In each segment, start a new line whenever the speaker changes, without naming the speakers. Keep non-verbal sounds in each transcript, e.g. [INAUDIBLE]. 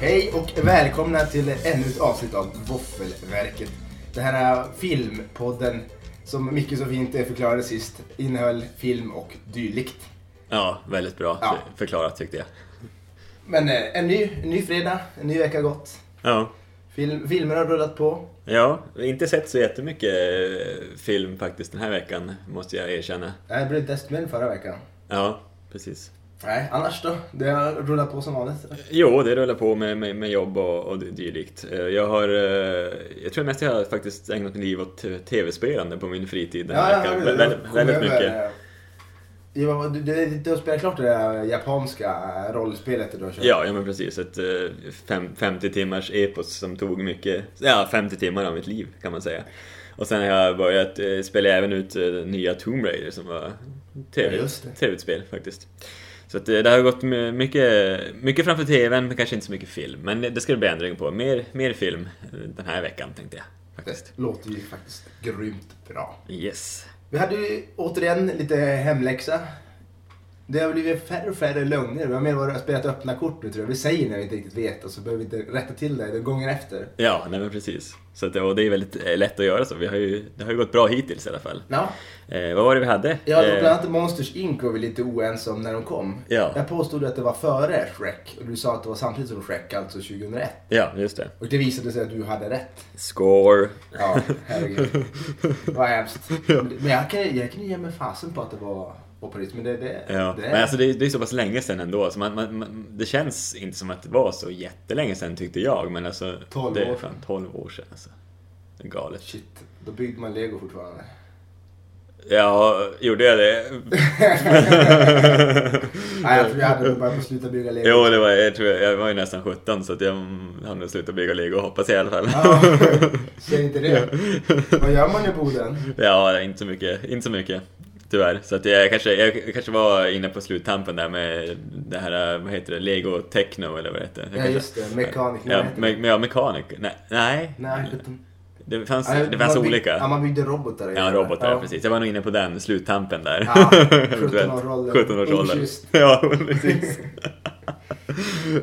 Hej och välkomna till ännu ett avsnitt av Våffelverket. Den här filmpodden som mycket så fint förklarade sist innehöll film och dylikt.
Ja, väldigt bra
Ja.
för- förklarat tyckte jag.
Men eh, en ny, en ny fredag, en ny vecka gått.
Ja.
Film, filmer har rullat på.
ja, vi har inte sett så jättemycket eh, film faktiskt den här veckan, måste jag erkänna.
Nej, Det blev desto mer än förra veckan.
Ja, precis.
Nej, annars då? Det har rullat på som vanligt.
Jo, det rullar på med, med, med jobb och, och dy- dylikt. Eh, Jag har... eh, Jag tror mest jag har faktiskt ägnat mitt liv åt t- tv-spelande på min fritid den här veckan. Vä- väldigt, väldigt mycket.
eh, Ja, du, du, du har spelat klart det där japanska rollspelet du har kört.
Ja, ja men precis. Ett eh, fem, 50 timmars epos som tog mycket, ja 50 timmar av mitt liv kan man säga. Och sen har jag börjat eh, spela även ut eh, den nya Tomb Raider som var TV,
Ja, just det.
trevligt spel faktiskt. Så att, eh, det har gått my- mycket, mycket framför TVn men kanske inte så mycket film. Men det ska det bli ändring på. Mer, mer film eh, den här veckan tänkte jag. Faktiskt.
Det låter ju faktiskt grymt bra.
Yes.
Vi hade ju återigen lite hemläxa. Det har blivit färre och färre lögner. Vi har mer varit spelat öppna kort nu tror jag. Vi säger när vi inte riktigt vet och så behöver vi inte rätta till det gången efter.
Ja, nej men precis. Så att, och det är väldigt eh, lätt att göra så. Vi har ju, det har ju gått bra hittills i alla fall.
Ja,
Eh, vad var det vi hade?
ja det var
Eh,
bland annat Monsters Inc var vi lite oense om när de kom.
Ja.
Jag påstod att det var före Shrek och du sa att det var samtidigt som Shrek, alltså 2001.
ja, just det.
Och det visade sig att du hade rätt.
[LAUGHS] Score.
Ja, herregud. Vad
[LAUGHS]
hemskt. Men jag kan, jag kan ju ge mig fasen på att det var, var på riktigt. Men det, det,
Ja.
det
Men alltså det är, det är så pass länge sedan ändå, så man, man, man, det känns inte som att det var så jättelänge sedan tyckte jag. Men alltså,
12
det är
år
fan 12 år sedan alltså. Det är galet.
Shit, då byggde man lego
[LAUGHS]
fortfarande. [LAUGHS]
Ja, gjorde jag det?
Nej,
Mm.
jag tror jag hade nog börjat sluta bygga lego.
Jo, det var, jag, tror jag, jag var ju nästan 17 så att jag mm, hann nog sluta bygga lego hoppas jag i alla fall.
Ja,
[LAUGHS]
säg inte det. Vad gör man i Boden?
Ja, det är inte så mycket. Inte så mycket. Tyvärr. Så att jag, kanske, jag kanske var inne på sluttampen där med det här, eh, vad heter det, Lego Techno eller vad det heter. Jag
Ja,
kanske-
just det. Mechanic, vad
Ja,
heter
me, ja mechanic. Nej. nej.
Nej, utan-
Det fanns,
Nej,
Alltså, det fanns
man bygg- Ja,
olika.
man byggde robotar. i
Ja,
det.
robotar, precis. Jag var nog inne på den sluttampen där. [LAUGHS]
Ja,
Du vet,
17-årsåldern.
17-årsåldern.
Oschysst.
Ja, [LAUGHS] precis.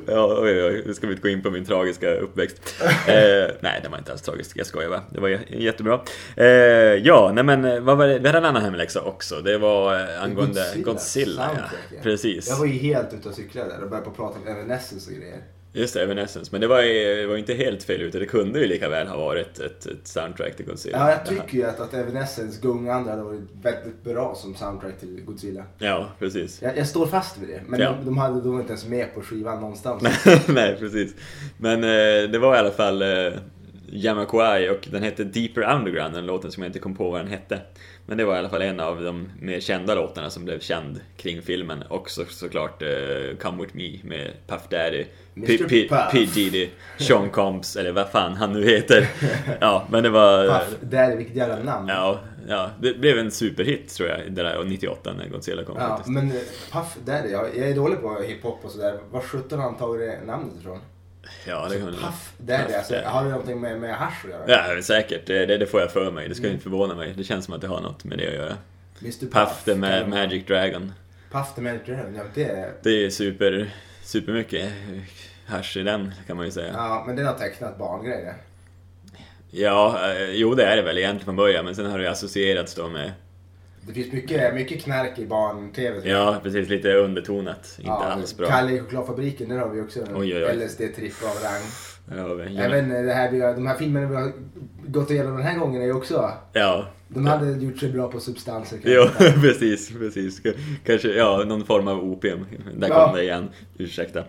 ja, oj, oj, nu ska vi inte gå in på min tragiska uppväxt. eh, nej, det var inte alls tragiskt. Jag skojar bara. Det var j- jättebra. Eh, ja, nej men eh, vad var det? vi hade en annan hemläxa också. Det var eh, angående Godzilla.
soundtrack,
ja. Precis.
Jag var ju helt ute och cyklade där och började på att prata om Evanescence och grejer.
Just det, Evanescence. Men det var ju det var ju inte helt fel ute. Det kunde ju lika väl ha varit ett, ett soundtrack till Godzilla.
Ja, jag tycker ju att, att Evanescence gungande hade varit väldigt bra som soundtrack till Godzilla.
Ja, precis.
Jag, jag står fast vid det, men
Ja.
de, de, hade, de var inte ens med på skivan någonstans.
[LAUGHS] Nej, precis. Men eh, det var i alla fall eh, Jamiroquai och den hette Deeper Underground, den låten som jag inte kom på vad den hette. Men det var i alla fall en av de mer kända låtarna som blev känd kring filmen. Och så, såklart eh, Come With Me med Puff Daddy, P-
Mr.
P-
Puff.
P. Diddy, Sean Combs, eller vad fan han nu
[LAUGHS]
heter. Ja, men det var...
Puff Daddy, vilket jävla namn.
Ja, ja, det blev en superhit tror jag, det där 98 när Godzilla kom
Ja,
faktiskt.
men eh, Puff Daddy, jag, jag är dålig på hiphop och sådär. Var sjutton har han tagit det namnet ifrån?
Ja, det kan man-
Puff Daddy,
Puff
alltså,
Daddy.
har det någonting med, med hasch att göra?
Ja, säkert. Det, det, det får jag för mig. Det ska
Mm.
inte förvåna mig. Det känns som att det har något med det att göra.
Mr.
Puff the Ma-
Daddy.
Magic Dragon.
Puff the Magic Dragon, ja, det är...
Det är super, supermycket hasch i den, kan man ju säga.
Ja, men det är något tecknat barngrej det.
Ja, eh, jo det är det väl egentligen från början, men sen har det ju associerats då med...
Det finns mycket, mycket knark i barn-tv. tror jag.
Ja, precis. Lite undertonat. Inte alls bra.
Kalle i chokladfabriken, där har vi också en
Oj, oj, oj.
LSD-tripp av rang.
Där har vi-
Även eh, det här, vi har- de här filmerna vi har gått igenom den här gången är ju också...
Ja.
De hade gjort sig bra på substanser. kan
Jo,
jag säga.
[LAUGHS] precis, precis. K- Kanske, ja, någon form av opium. Där kom
Ja.
det igen. Ursäkta.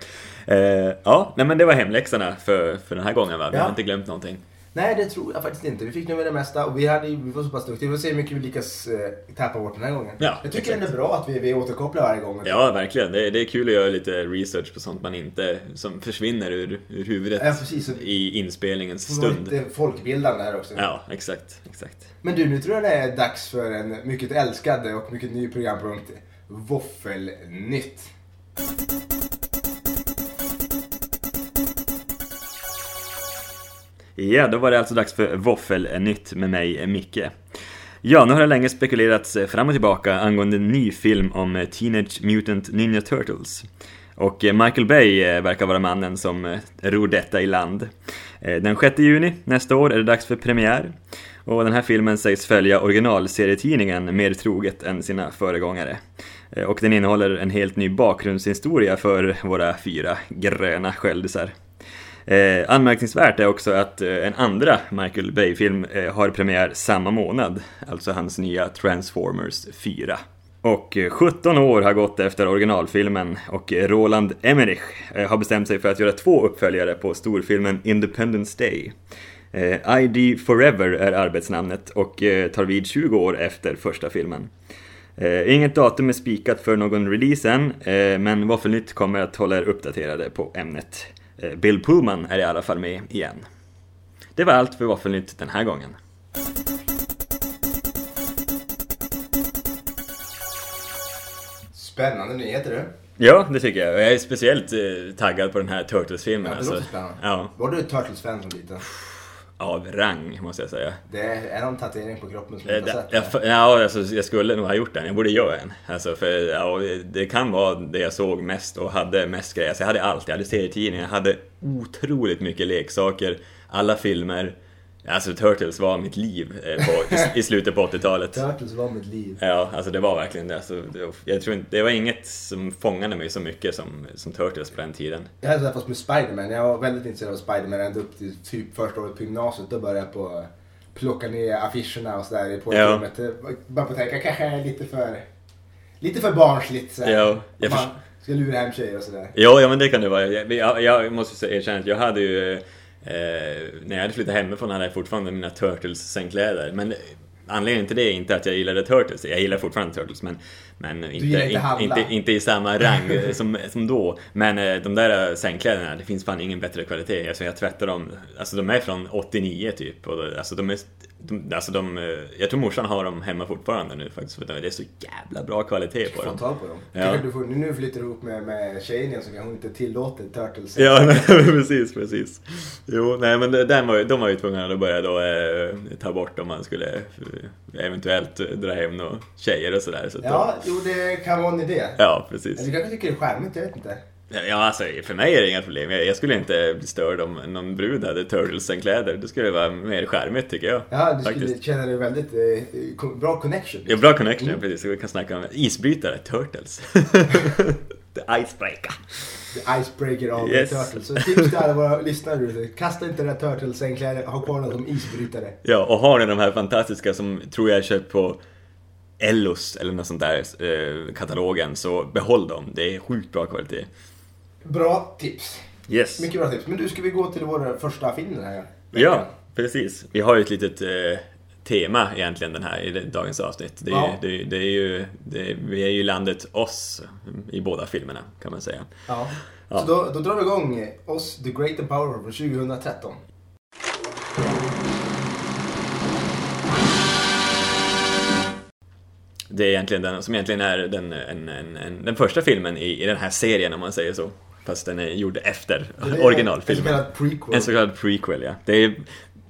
Eh, ja, nej men det var hemläxorna för, för den här gången va? Vi
Ja.
har inte glömt någonting.
Nej, det tror jag faktiskt inte. Vi fick nog med det mesta och vi, hade, ju- vi var så pass duktiga. Vi får se hur mycket vi lyckas eh, tappa bort den här gången.
Ja,
jag tycker
exakt.
det är bra att vi, vi återkopplar varje gång.
Ja, verkligen. Det, det är kul att göra lite research på sånt man inte, som försvinner ur, ur huvudet
Ja, precis. Och-
i inspelningens
Det var
stund.
lite folkbildande här också.
Ja, exakt, exakt.
Men du, nu tror jag det är dags för en mycket älskad och mycket ny programpunkt. Våffelnytt.
Ja, då var det alltså dags för Våffelnytt med mig, Micke. Ja, nu har det länge spekulerats fram och tillbaka angående en ny film om Teenage Mutant Ninja Turtles. Och eh, Michael Bay eh, verkar vara mannen som eh, ror detta i land. Eh, Den 6 juni nästa år är det dags för premiär. Och den här filmen sägs följa originalserietidningen mer troget än sina föregångare. Eh, Och den innehåller en helt ny bakgrundshistoria för våra fyra gröna sköldisar. Eh, anmärkningsvärt är också att eh, en andra Michael Bay-film eh, har premiär samma månad, alltså hans nya Transformers 4. Och eh, 17 år har gått efter originalfilmen och eh, Roland Emmerich eh, har bestämt sig för att göra två uppföljare på storfilmen Independence Day. Eh, ID Forever är arbetsnamnet och eh, tar vid 20 år efter första filmen. Eh, inget datum är spikat för någon release än, eh, men Våffelnytt kommer att hålla er uppdaterade på ämnet. Eh, Bill Pullman är i alla fall med igen. Det var allt för Våffelnytt den här gången.
Spännande nyheter du.
Ja, det tycker jag. Och Jag är speciellt eh, taggad på den här Turtles-filmen. alltså.
Ja, det låter spännande.
ja,
Var du ett Turtles-fan som liten?
av rang, måste jag säga.
Det är någon tatuering på kroppen som
Eh,
jag inte har
det-
sett.
Jag, f- ja, alltså, jag skulle nog ha gjort den. Jag borde göra en. Alltså, för, ja, det kan vara det jag såg mest och hade mest grejer. Alltså, jag hade allt. Jag hade serietidningar, jag hade otroligt mycket leksaker, alla filmer. Alltså Turtles var mitt liv eh, på, i, i slutet på 80-talet.
Turtles var mitt liv.
Ja, alltså det var verkligen det. Alltså, det- jag tror inte, det var inget som fångade mig så mycket som, som Turtles på den tiden.
Jag hade fast med Spiderman. Jag var väldigt intresserad av Spiderman ända upp till typ första året på gymnasiet. Då började jag på att plocka ner affischerna och sådär i pojkrummet. Bara på att tänka, kanske är lite för, lite för barnsligt. Så här.
Ja, jag
Man
förs-
ska lura hem tjejer och sådär.
Ja, ja men det kan det vara. Jag, jag, jag måste ju säga- erkänna att jag hade ju... Eh, när jag hade flyttat hemifrån hade jag fortfarande mina Turtles-sängkläder. Men anledningen till det är inte att jag gillade Turtles. Jag gillar fortfarande Turtles, men... men inte,
gillar inte
in-
handla.
inte, inte i samma rang eh, som, som då. Men eh, de där sängkläderna, det finns fan ingen bättre kvalitet. Alltså jag tvättar dem. Alltså de är från 89 typ. Och, alltså de är... De, alltså de, eh, jag tror morsan har dem hemma fortfarande nu faktiskt. För det är så jävla bra kvalitet på
Få
dem.
tag på dem.
Ja.
Kanske du får, nu flyttar du ihop med, med tjejen igen så kanske hon inte tillåter Turtles.
[LAUGHS] Ja, nej, precis, precis. Jo, nej men det- den var, ju- de var ju tvungna att börja då eh, ta bort om man skulle eh, eventuellt dra hem några tjejer och sådär. Så att
Ja,
då-
jo det kan vara en idé.
ja,
Eller
precis.
du kanske tycker det är charmigt, jag vet inte.
Ja, alltså för mig är det inga problem. Jag, jag skulle inte bli störd om någon brud hade Turtles-kläder. Det skulle vara mer charmigt tycker jag.
Ja, du skulle
faktiskt.
känna dig väldigt eh, ko- bra connection.
Ja, bra connection, precis. Så vi kan snacka om isbrytare, Turtles. [LAUGHS] The icebreaker.
The icebreaker av
Yes.
Turtles. Så tips till alla våra lyssnare ute. Kasta inte det där Turtles-sängkläder, ha kvar den som isbrytare.
Ja, och har ni de här fantastiska som tror jag är köpt på Ellos eller något sånt där, eh, katalogen, så behåll dem. Det är sjukt bra kvalitet.
Bra tips.
Yes.
Mycket bra tips. Men du, ska vi gå till vår första film den här veckan?
Ja, precis. Vi har ju ett litet eh, tema egentligen den här i det- dagens avsnitt. Det är,
Ja.
det, det är ju, det, vi är ju landet oss i båda filmerna kan man säga.
ja.
Ja.
Så då, då drar vi igång eh, Oss, The Great and Power från 2013.
Det är egentligen den som egentligen är den, en, en, en, den första filmen i, i den här serien om man säger så. Fast den är gjord efter
Det är
originalfilmen.
En så kallad prequel.
En så kallad prequel, ja. Det är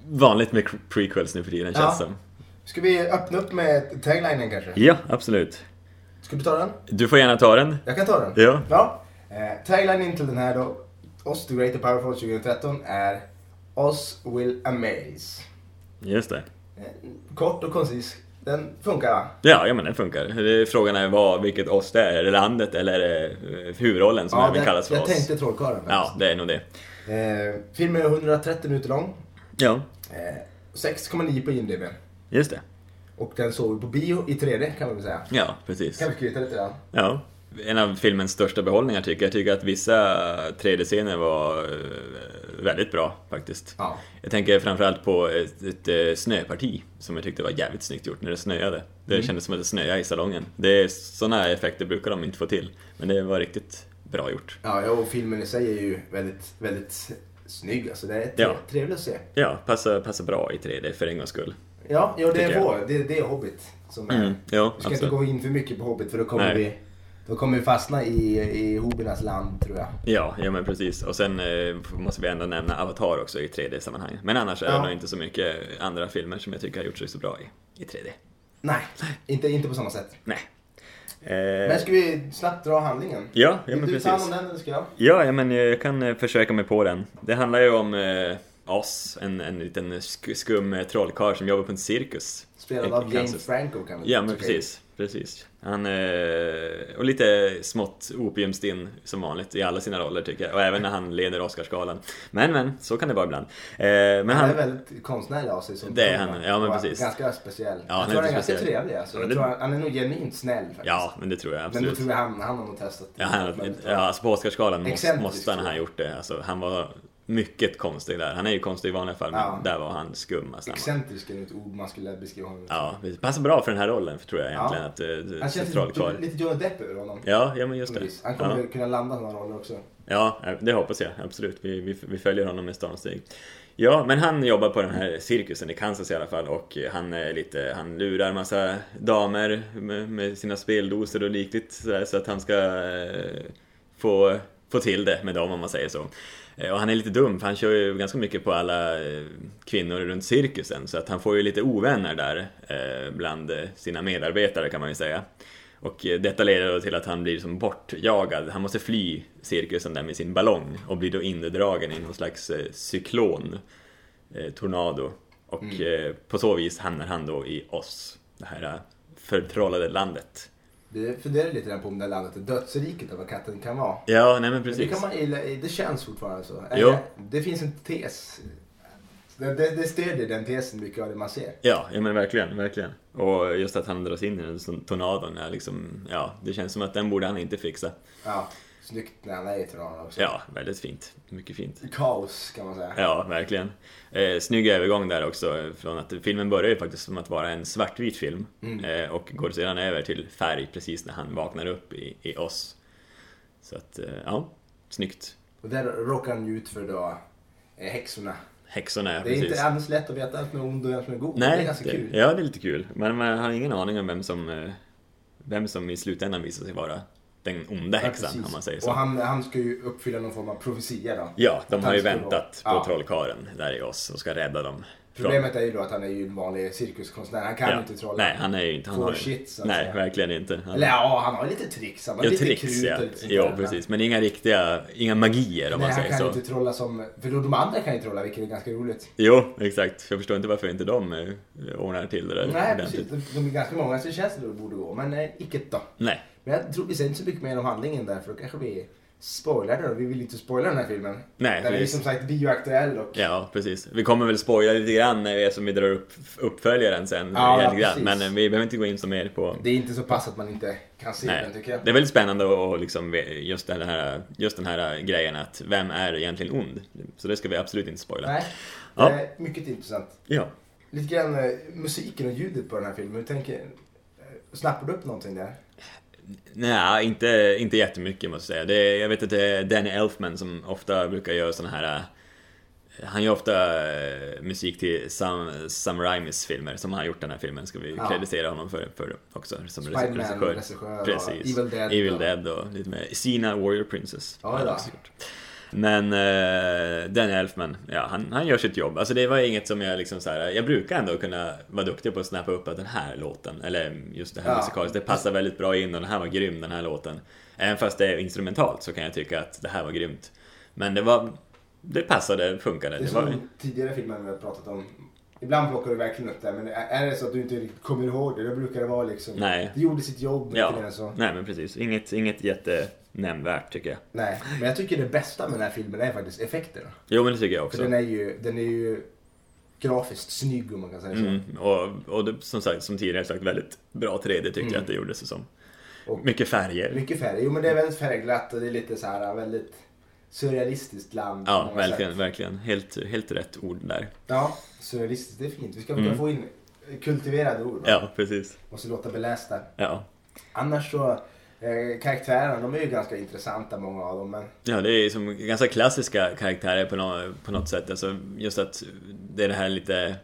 vanligt med prequels nu för tiden,
Ja.
känns som.
Ska vi öppna upp med taglinen kanske?
Ja, absolut.
Ska du ta den?
Du får gärna ta den.
Jag kan ta den.
Ja.
Ja. Eh, taglinen till den här då, Oss, The Great and Power från 2013 är Oss will amaze. Eh,
Just det.
Kort och koncis. Den funkar va?
Ja, ja men den funkar. Det är- Frågan är vad, vilket oss det är. Är det landet eller är det eh, huvudrollen som även
det-
kallas för
jag
oss?
tänkte trollkarlen
Ja, det är nog det.
faktiskt. Eh, filmen är 130 minuter lång.
Ja,
Eh, 6,9 på IMDB.
just det.
Och den såg vi på bio i 3D kan man väl säga.
Ja, precis.
Kan vi skryta lite grann?
Ja. En av filmens största behållningar tycker jag. Jag tycker att vissa 3D-scener var eh, väldigt bra faktiskt.
Ja.
Jag tänker framförallt på ett, ett eh, snöparti som jag tyckte var jävligt snyggt gjort när det snöade. Det
Mm.
kändes som att det snöade i salongen. Det är, sådana effekter brukar de inte få till, men det var riktigt bra gjort.
Ja, ja, och filmen i sig är ju väldigt, väldigt snygg. Alltså det är tre-
Ja.
trevligt att se.
Ja, passar, passar bra i 3D för en gångs skull.
Ja, ja det
Tycker
är
jag.
vår. Det, det är Hobbit. Som är.
Mm, ja,
vi ska
absolut.
inte gå in för mycket på Hobbit för då kommer,
Nej.
vi, då kommer vi fastna i, i hobernas land tror jag.
Ja, ja men precis. Och sen eh, måste vi ändå nämna Avatar också i 3D-sammanhang. Men annars är
Ja.
det nog inte så mycket andra filmer som jag tycker har gjort sig så bra i, i 3D. Eh.
Nej, inte, inte på samma sätt.
Nej. Eh,
Men ska vi snabbt dra handlingen?
Ja, ja
Vill
men
du ta hand om
precis.
den eller ska jag?
Ja, ja, men jag kan eh, försöka mig på den. Det handlar ju om eh, Oz, en, en liten sk- skum eh, trollkarl som jobbar på en cirkus.
Spelad
I- i
av James
Kansas.
Franco kan vi
Ja, men
tycka.
precis. precis. Han, eh, och lite smått opiumstinn som vanligt i alla sina roller tycker jag. Och även när han leder Oscarsgalan. Men, men, så kan det vara ibland. Eh, men
Han
han,
är väldigt konstnärlig av sig som
Det är
person,
han, ja, men
och
precis.
Ganska speciell.
han
jag
är
tror han är
lite
ganska
speciell.
trevlig alltså.
Ja,
Jag
det-
tror han, han är nog genuint snäll faktiskt.
ja, men det tror jag
men
absolut.
då tror jag han, han har nog testat.
Ja, han, ja, alltså på Oscarsgalan måste,
Excentrisk,
måste han
tror
ha
jag.
gjort det. Alltså, han var mycket konstig där. Han är ju konstig i vanliga fall, men
Ja.
där var han skum. Alltså, han var-
Excentrisk är nog ett ord man skulle beskriva honom som.
Ja, precis. passar bra för den här rollen, tror jag egentligen.
Ja.
Att, eh,
Han känns lite,
trollkarl.
lite Johnny Depp över honom.
Ja, ja, men just det.
Vis. Han kommer
Ja,
kunna landa sådana roller också.
ja, eh, det hoppas jag. Absolut. Vi, vi, vi följer honom med stormsteg. Ja, men han jobbar på den här cirkusen i Kansas i alla fall och han är lite, han lurar massa damer med, med sina speldoser och likligt sådär, så att han ska eh, få, få till det med dem om man säger så. Eh, Och han är lite dum för han kör ju ganska mycket på alla eh, kvinnor runt cirkusen så att han får ju lite ovänner där eh, bland eh, sina medarbetare kan man ju säga. Och eh, detta leder då till att han blir som bortjagad. Han måste fly cirkusen där med sin ballong och blir då indragen i någon slags eh, cyklon, eh, tornado. Och
Mm.
eh, på så vis hamnar han då i oss, det här eh, förtrollade landet.
Det funderar lite grann på om det här landet är dödsriket av vad katten kan vara.
Ja, nej men
Men det,
precis.
kan man, gilla- det känns fortfarande så.
Jo.
Eller, Det finns en tes. Det, det, det stödjer den tesen mycket av det man ser.
Ja, ja men verkligen, verkligen. Och just att han dras in i den sån tornadon är liksom, ja, det känns som att den borde han inte fixa.
Ja, snyggt när han är i Toronto också.
Ja, väldigt fint. Mycket fint.
Kaos kan man säga.
Ja, verkligen. Eh, snygg övergång där också. eh, Från att filmen börjar ju faktiskt som att vara en svartvit film
Mm.
eh, och går sedan över till färg precis när han vaknar upp i, i oss. Så att, eh, ja, snyggt.
Och där råkar han ju ut för då eh, häxorna.
Häxorna, ja,
Det är
precis.
inte alldeles lätt att veta vem som är ond och vem som är god.
Nej,
det är ganska kul.
Ja, det är lite kul. Men man har ingen aning om vem som, eh, vem som i slutändan visar sig vara den onda
Ja,
häxan,
precis.
om man säger
Och
så.
han, han ska ju uppfylla någon form av profetia då.
Ja, de
Att
har
han
ju
ska
väntat på
vara- ja.
trollkaren där i oss och ska rädda dem. från-
Problemet är ju då att han är ju en vanlig cirkuskonstnär. Han kan ju
Ja.
inte trolla.
Nej, han är ju inte... Han
Får
har ju-
shit, så att
Nej,
säga.
verkligen inte. Han...
Eller ja, han har lite tricks. Han har
Ja,
lite
tricks
krut
ja.
och lite typ, sånt
Ja,
där.
precis. Men inga riktiga, inga magier
Nej,
om man
han
säger
kan
så.
inte trolla som... För då de andra kan ju trolla, vilket är ganska roligt.
Jo, exakt. Jag förstår inte varför inte de eh, ordnar till det där
Nej,
typ.
precis. De, de är ganska många, så det känns som det borde gå. Men nej, icke då.
Nej,
Men jag tror vi säger inte så mycket mer om handlingen där, för då kanske vi spoilar det. då. Vi vill inte spoila den här filmen.
Nej,
Den är ju
precis.
som sagt bioaktuell och...
ja precis. Vi kommer väl spoila lite grann när vi, eftersom vi drar upp uppföljaren sen.
Ja,
i Edgran.
precis.
Men eh, vi behöver inte gå in så mer på...
Det är inte så pass att man inte kan se
Nej.
den, tycker jag.
Det är väldigt spännande och liksom ve- just, den här, just den här eh, grejen att vem är egentligen ond? Så det ska vi absolut inte spoila.
Nej, det
Ja.
är mycket intressant.
Ja.
Lite grann eh, musiken och ljudet på den här filmen. Hur tänker... eh, Snappar du upp någonting där?
Nej, inte, inte jättemycket måste jag säga. Det, är- jag vet att det är Danny Elfman som ofta brukar göra såna här... eh, Han gör ofta eh, musik till Sam, Sam Raimis filmer, som han har gjort den här filmen, ska vi
Ja.
kreditera honom för, för också. Som
Spider-Man,
regissör.
regissör och
Precis.
Evil Dead
Evil
och-
Dead och lite mer. Sina Warrior Princess.
Ja,
har han
ja.
också gjort. Men eh, Danny Elfman, ja, han, han gör sitt jobb. Alltså det var inget som jag liksom så här, Jag brukar ändå kunna vara duktig på att snappa upp att den här låten, eller just det här
Ja.
musikaliskt, det passar väldigt bra in och den här var grym den här låten. Även fast det är instrumentalt så kan jag tycka att det här var grymt. Men det var... Det passade, funkade.
Det är
Det var,
som tidigare filmer vi har pratat om. Ibland plockar du verkligen upp det, men är är det så att du inte riktigt kommer ihåg det, då brukar det vara liksom...
Nej.
Det gjorde sitt jobb.
ja,
lite grann Så.
nej men precis. Inget, inget jättenämnvärt tycker jag.
Nej, men jag tycker det bästa med den här filmen är faktiskt effekterna.
Jo men det tycker jag
För
också.
den är, ju, den är ju grafiskt snygg om man kan säga så.
Mm, och och det, som sagt, som tidigare sagt, väldigt bra 3D tyckte jag att det gjorde sig som.
Mm. Och-
Mycket färger.
Mycket färg. Jo men det är väldigt färgglatt och det är lite så här väldigt surrealistiskt land. på
Ja,
många sätt.
verkligen, verkligen. Helt, helt rätt ord där.
Ja, surrealistiskt. Det är fint. Vi ska försöka få in kultiverade ord. va?
Mm. Ja, precis.
Måste låta belästa.
Ja,
Annars så, eh, karaktärerna de är ju ganska intressanta många av dem. Men
Ja, det är som ganska klassiska karaktärer på, nå på något sätt. Alltså just att det är det här lite...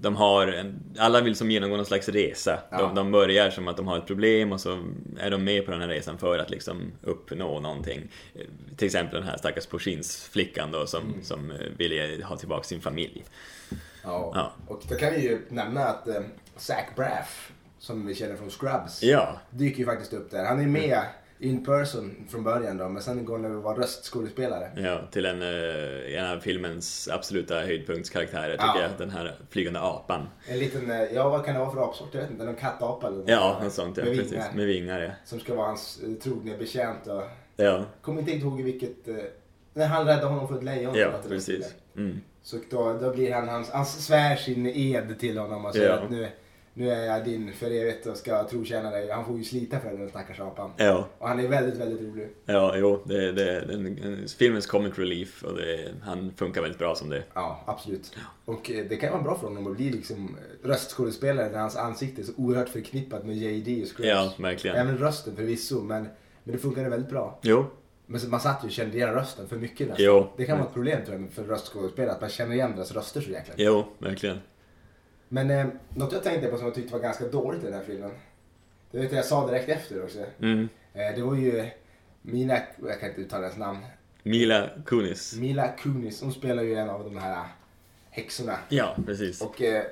De har en, alla vill som genomgå någon slags resa.
Ja.
De, de börjar som att de har ett problem och så är de med på den här resan för att liksom uppnå någonting. Eh, Till exempel den här stackars porslinsflickan då som,
Mm.
som eh, ville ha tillbaka sin familj.
Ja.
Ja.
Och då kan vi ju nämna att eh, Zach Braff som vi känner från Scrubs,
Ja,
dyker ju faktiskt upp där. Han är med in person från början då, men sen går han över att vara röstskådespelare.
ja till en, eh, en av filmens absoluta höjdpunktskaraktärer tycker
Ja.
jag. Den här flygande apan.
En liten, eh, ja vad kan det vara för apsort? Jag vet inte, någon kattapa eller något.
Ja, något sånt ja.
Med
Precis,
vingar.
med vingar ja.
Som ska vara hans eh, trogna betjänt och...
Ja,
Kommer inte ihåg i vilket... eh, När han räddade honom för ett lejon. eller
ja
något.
precis. Mm.
Så då, då blir han, han, han svär sin ed till honom och säger
Ja.
att nu, nu är jag din för evigt och ska trotjäna dig. Han får ju slita för den stackars apan.
Ja.
Och han är väldigt, väldigt rolig.
Ja, jo, det, det, den, den- filmens comic relief och det, han funkar väldigt bra som det.
Ja, absolut. Och eh, det kan vara bra för honom att bli liksom eh, röstskådespelare när hans ansikte är så oerhört förknippat med JD och Scrubs.
Ja, verkligen.
Även rösten förvisso, men, men det funkade väldigt bra.
Jo,
Men så- man satt ju och kände igen rösten för mycket nästan.
Jo. Mm.
Det kan vara ett problem tror jag för röstskådespelare, att man känner igen deras röster så jäkla
jo, verkligen.
Men eh, något jag tänkte på som jag tyckte var ganska dåligt i den här filmen. Det vet jag, jag sa direkt efter också.
Mm.
Eh, det var ju Mina, jag kan inte uttala hennes namn.
Mila Kunis.
Mila Kunis, hon spelar ju en av de här eh, häxorna.
Ja, precis.
Och eh,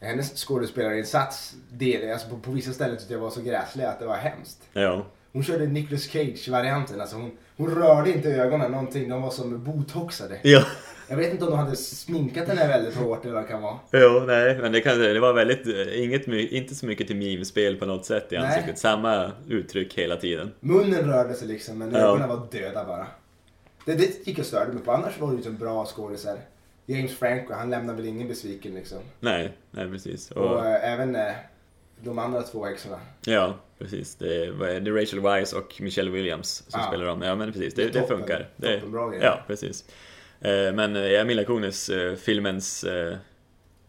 hennes skådespelarinsats, del, alltså på, på vissa ställen tyckte jag var så gräslig att det var hemskt.
Ja,
Hon körde Nicolas Cage-varianten, alltså hon, hon rörde inte ögonen någonting, de var som botoxade.
ja,
Jag vet inte om de hade sminkat henne väldigt hårt eller vad det kan vara.
jo, nej, men det, kan, det var väldigt, eh, inget, my- inte så mycket till mimspel på något sätt i
Nej.
ansiktet. Samma uttryck hela tiden.
Munnen rörde sig liksom men
Ja.
ögonen var döda bara. Det, det gick jag och störde mig på. Annars var det ju liksom bra skådisar. James Franco, han lämnar väl ingen besviken liksom.
Nej, nej precis.
Och
Och,
eh, även eh, de andra två häxorna.
ja, precis. Det, vad är det är Rachel Weisz och Michelle Williams som
Ja.
spelar dem. Ja, men precis.
Det är
Det, det
toppen.
funkar. Det,
Toppenbra grejer.
ja, precis. Eh, Men ja, Mila Kunis, eh, filmens eh,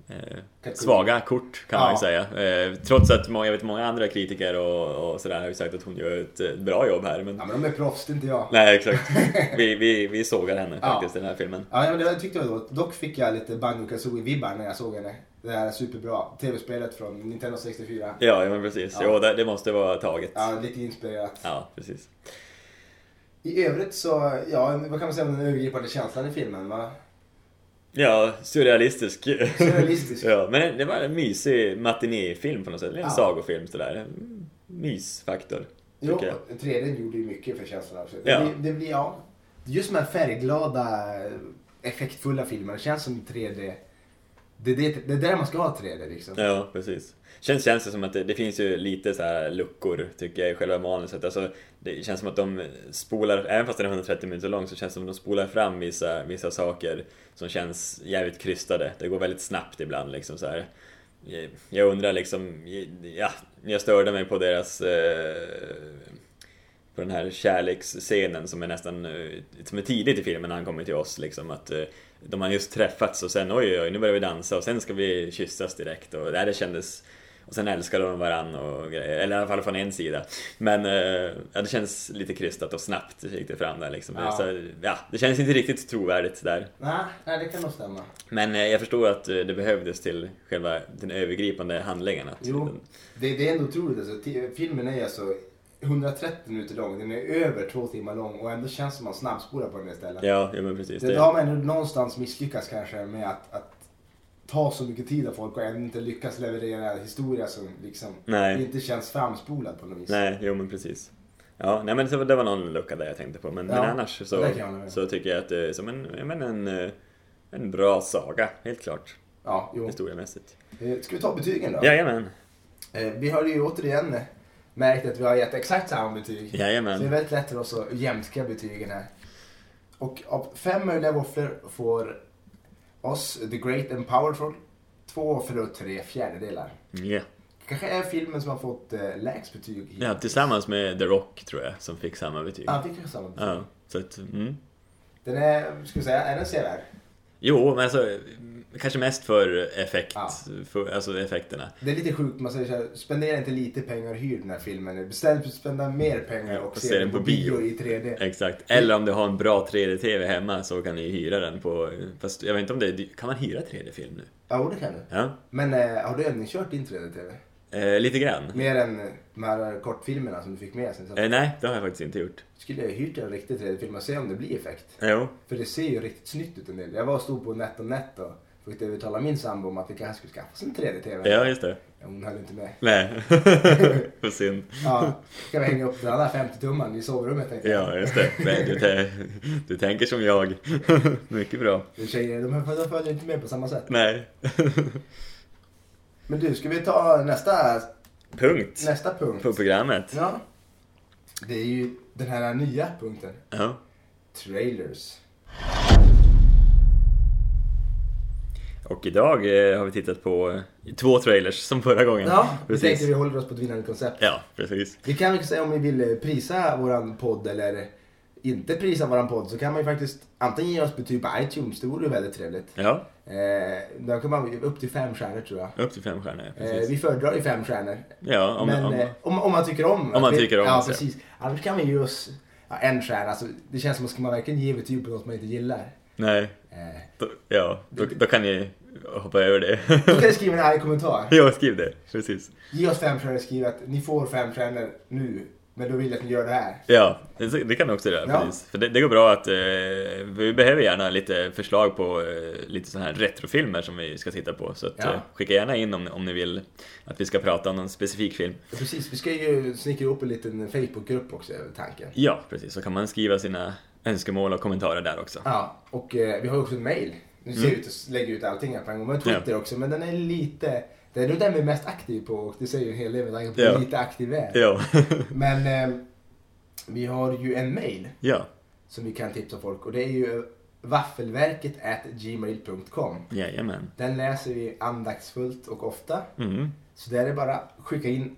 eh,
Kategori.
Svaga kort kan man ju
Ja.
säga. Eh, Trots att många, jag vet, många andra kritiker och, och sådär har ju sagt att hon gör ett eh, bra jobb här. Men...
Ja men de är proffs, det är inte jag.
Nej,
[LAUGHS]
exakt. Vi, vi, vi sågar henne
Ja.
faktiskt i den här filmen.
Ja, ja, men det tyckte jag då. Dock fick jag lite Banjo Kazooie-vibbar när jag såg henne. Det här superbra tv-spelet från Nintendo 64.
Ja, ja men precis.
Ja.
Jo, det, det måste vara taget. Ja,
Ja, lite inspirerat.
precis.
I övrigt så, ja, vad kan man säga om den övergripande känslan i filmen? Va?
Ja, surrealistisk.
Surrealistisk.
[LAUGHS] ja, men det var en mysig matinéfilm på något sätt. En
Ja.
sagofilm sådär. Mm, Mysfaktor,
Jo,
tycker jag.
tredje gjorde ju mycket för känslan också.
Ja.
Det, blir- det blir, ja. Just de här färgglada, effektfulla filmerna känns som 3D. Det, det, det är där man ska ha 3D liksom.
Ja, precis. Känns, känns det som att det, det finns ju lite så här luckor, tycker jag, i själva manuset. Alltså, det känns som att de spolar, även fast den är 130 minuter lång, så känns det som att de spolar fram vissa, vissa saker som känns jävligt krystade. Det går väldigt snabbt ibland liksom så här. Jag- Jag undrar liksom, ja, jag störde mig på deras eh, på den här kärleksscenen som är nästan eh, som är tidigt i filmen när han kommer till oss liksom att eh, de har just träffats och sen oj oj oj nu börjar vi dansa och sen ska vi kyssas direkt och nej, det kändes och sen älskar de varandra och grejer, eller i alla fall från en sida. Men eh, ja, det känns lite krystat och snabbt gick det fram där liksom.
Ja.
Så, ja, det känns inte riktigt trovärdigt där.
Nej, nej, det kan nog stämma.
Men eh, jag förstår att eh, det behövdes till själva den övergripande handlingen. Att
Jo.
den,
Det, det är ändå otroligt alltså. T- Filmen är alltså 130 minuter lång. Den är över två timmar lång och ändå känns det som man snabbspolar på den istället.
ja, ja, men precis.
Det,
Det-
det har man ändå någonstans misslyckats kanske med att, att ta så mycket tid av folk och ändå inte lyckas leverera en historia som liksom
Nej.
inte känns framspolad på något vis.
Nej, jo men precis. Ja, nej men så, det var någon lucka där jag tänkte på. Men, men
Ja,
annars
det
så,
kan jag hålla med om.
så tycker jag att det är som en, ja, men en, eh, en bra saga, helt klart.
Ja, jo.
Historiemässigt.
Eh, Ska vi ta betygen då?
Jajamän,
Eh, Vi har ju återigen eh, märkt att vi har gett exakt samma betyg. Så det är
jajamän.
väldigt lätt för oss att jämka betygen här. Och av fem möjliga våfflor får oss The Great and Powerful två våfflor och tre fjärdedelar.
Ja.
Kanske är filmen som har fått eh, lägst betyg. hittills.
ja, tillsammans med The Rock tror jag, som fick samma betyg.
Ja, vi kanske samma betyg.
Ja, så att, mm.
Den är, ska vi säga, är den sevärd?
Jo, men alltså kanske mest för effekt,
Ja.
för, alltså effekterna.
Det är lite sjukt, man säger så här, spendera inte lite pengar och hyr den här filmen. Beställ, spendera mer pengar och, se den på bio i 3D.
Exakt. Eller om du har en bra 3D-TV hemma så kan du ju hyra den på... Fast jag vet inte om det är... Kan man hyra 3D-film nu?
Ja, och det kan du.
Ja.
Men eh, har du övningskört din 3D-TV?
Eh, lite grann.
Mer än eh, de här kortfilmerna som du fick med sen. Så
Eh, nej, det har jag faktiskt inte gjort.
skulle jag hyrt en riktig 3D-film och se om det blir effekt.
Jo.
För det ser ju riktigt snyggt ut en del. Jag var och stod på NetOnNet och försökte övertala min sambo om att vi kanske skulle skaffa oss en 3D-TV.
Ja, just det.
Hon höll inte med.
Nej, [LAUGHS] vad synd.
Ja, ska vi hänga upp den där 50-tumman i sovrummet tänkte jag.
Ja, just det. Nej, du, tä- du tänker som jag. [LAUGHS] Mycket bra.
Men Tjejer, de, här- de följer inte med på samma sätt.
Nej. [LAUGHS]
Men du, ska vi ta nästa,
Punkt
nästa punkt?
på programmet.
Ja. Det är ju den här nya punkten.
Ja.
Trailers.
Och idag eh, har vi tittat på eh, två trailers som förra gången.
Ja, vi tänkte
Mm. precis.
vi håller oss på ett vinnande koncept.
Ja, precis.
Vi kan väl säga om vi vill eh, prisa våran podd eller inte prisa våran podd så kan man ju faktiskt antingen ge oss betyg på iTunes, det vore ju väldigt trevligt.
Ja,
Eh, då kan man upp till fem stjärnor tror jag.
upp till fem stjärnor.
Eh,
Precis.
vi föredrar ju fem stjärnor.
Ja, om,
men
om,
eh, om, om man tycker om. att
man
vi-
tycker om
Ja,
det, så.
precis. Annars kan man ju oss ja, en stjärna. Alltså, det känns som att ska man verkligen ge betyg på något man inte gillar.
nej. [LAUGHS]
Eh,
Då, ja, då, då kan ni hoppa över det.
då kan du skriva en arg kommentar.
[LAUGHS] ja, skriv det. Precis.
Ge oss fem stjärnor skriv att ni får fem stjärnor nu. Men då vill jag att ni gör det här.
Ja, det det kan du också göra.
Ja.
Precis. För det, det går bra att eh, vi behöver gärna lite förslag på eh, lite sådana här retrofilmer som vi ska titta på. Så att,
Ja.
eh, skicka gärna in om, om ni vill att vi ska prata om någon specifik film.
Precis, vi ska ju snickra ihop en liten Facebookgrupp också över tanken.
Ja, precis. Så kan man skriva sina önskemål och kommentarer där också.
Ja, och eh, vi har också en mail. Nu ser vi
Mm.
ut att lägga ut allting här på en gång. Men Twitter också, men den är lite... Det är nog den vi är mest aktiv på och det säger ju en hel del med tanke på
Ja.
hur lite aktiv vi är.
Ja, [LAUGHS]
Men eh, vi har ju en mail
ja.
som vi kan tipsa folk och det är ju vaffelverket gmail.com.
jajamän.
Den läser vi andaktsfullt och ofta.
Mm.
Så där är det bara att skicka in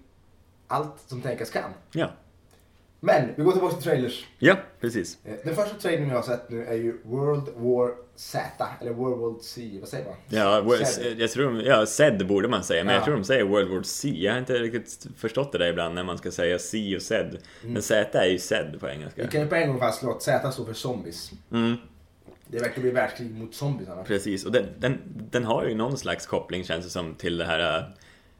allt som tänkas kan.
Ja.
Men vi går tillbaka till trailers.
ja, precis.
Eh, Den första trailern vi har sett nu är ju World War Z, eller World War C, vad säger man?
Ja, wo-
Zed.
eh, jag tror de, ja, Zed borde man säga, men
Ja.
jag tror de säger World War C. Jag har inte riktigt förstått det där ibland när man ska säga C och Zed.
Mm.
Men Z är ju Zed på engelska.
Vi kan ju på en gång fastslå att Z står för zombies.
Mm,
Det verkar bli världskrig mot zombies annars.
precis, och den, den, den har ju någon slags koppling känns det som till det här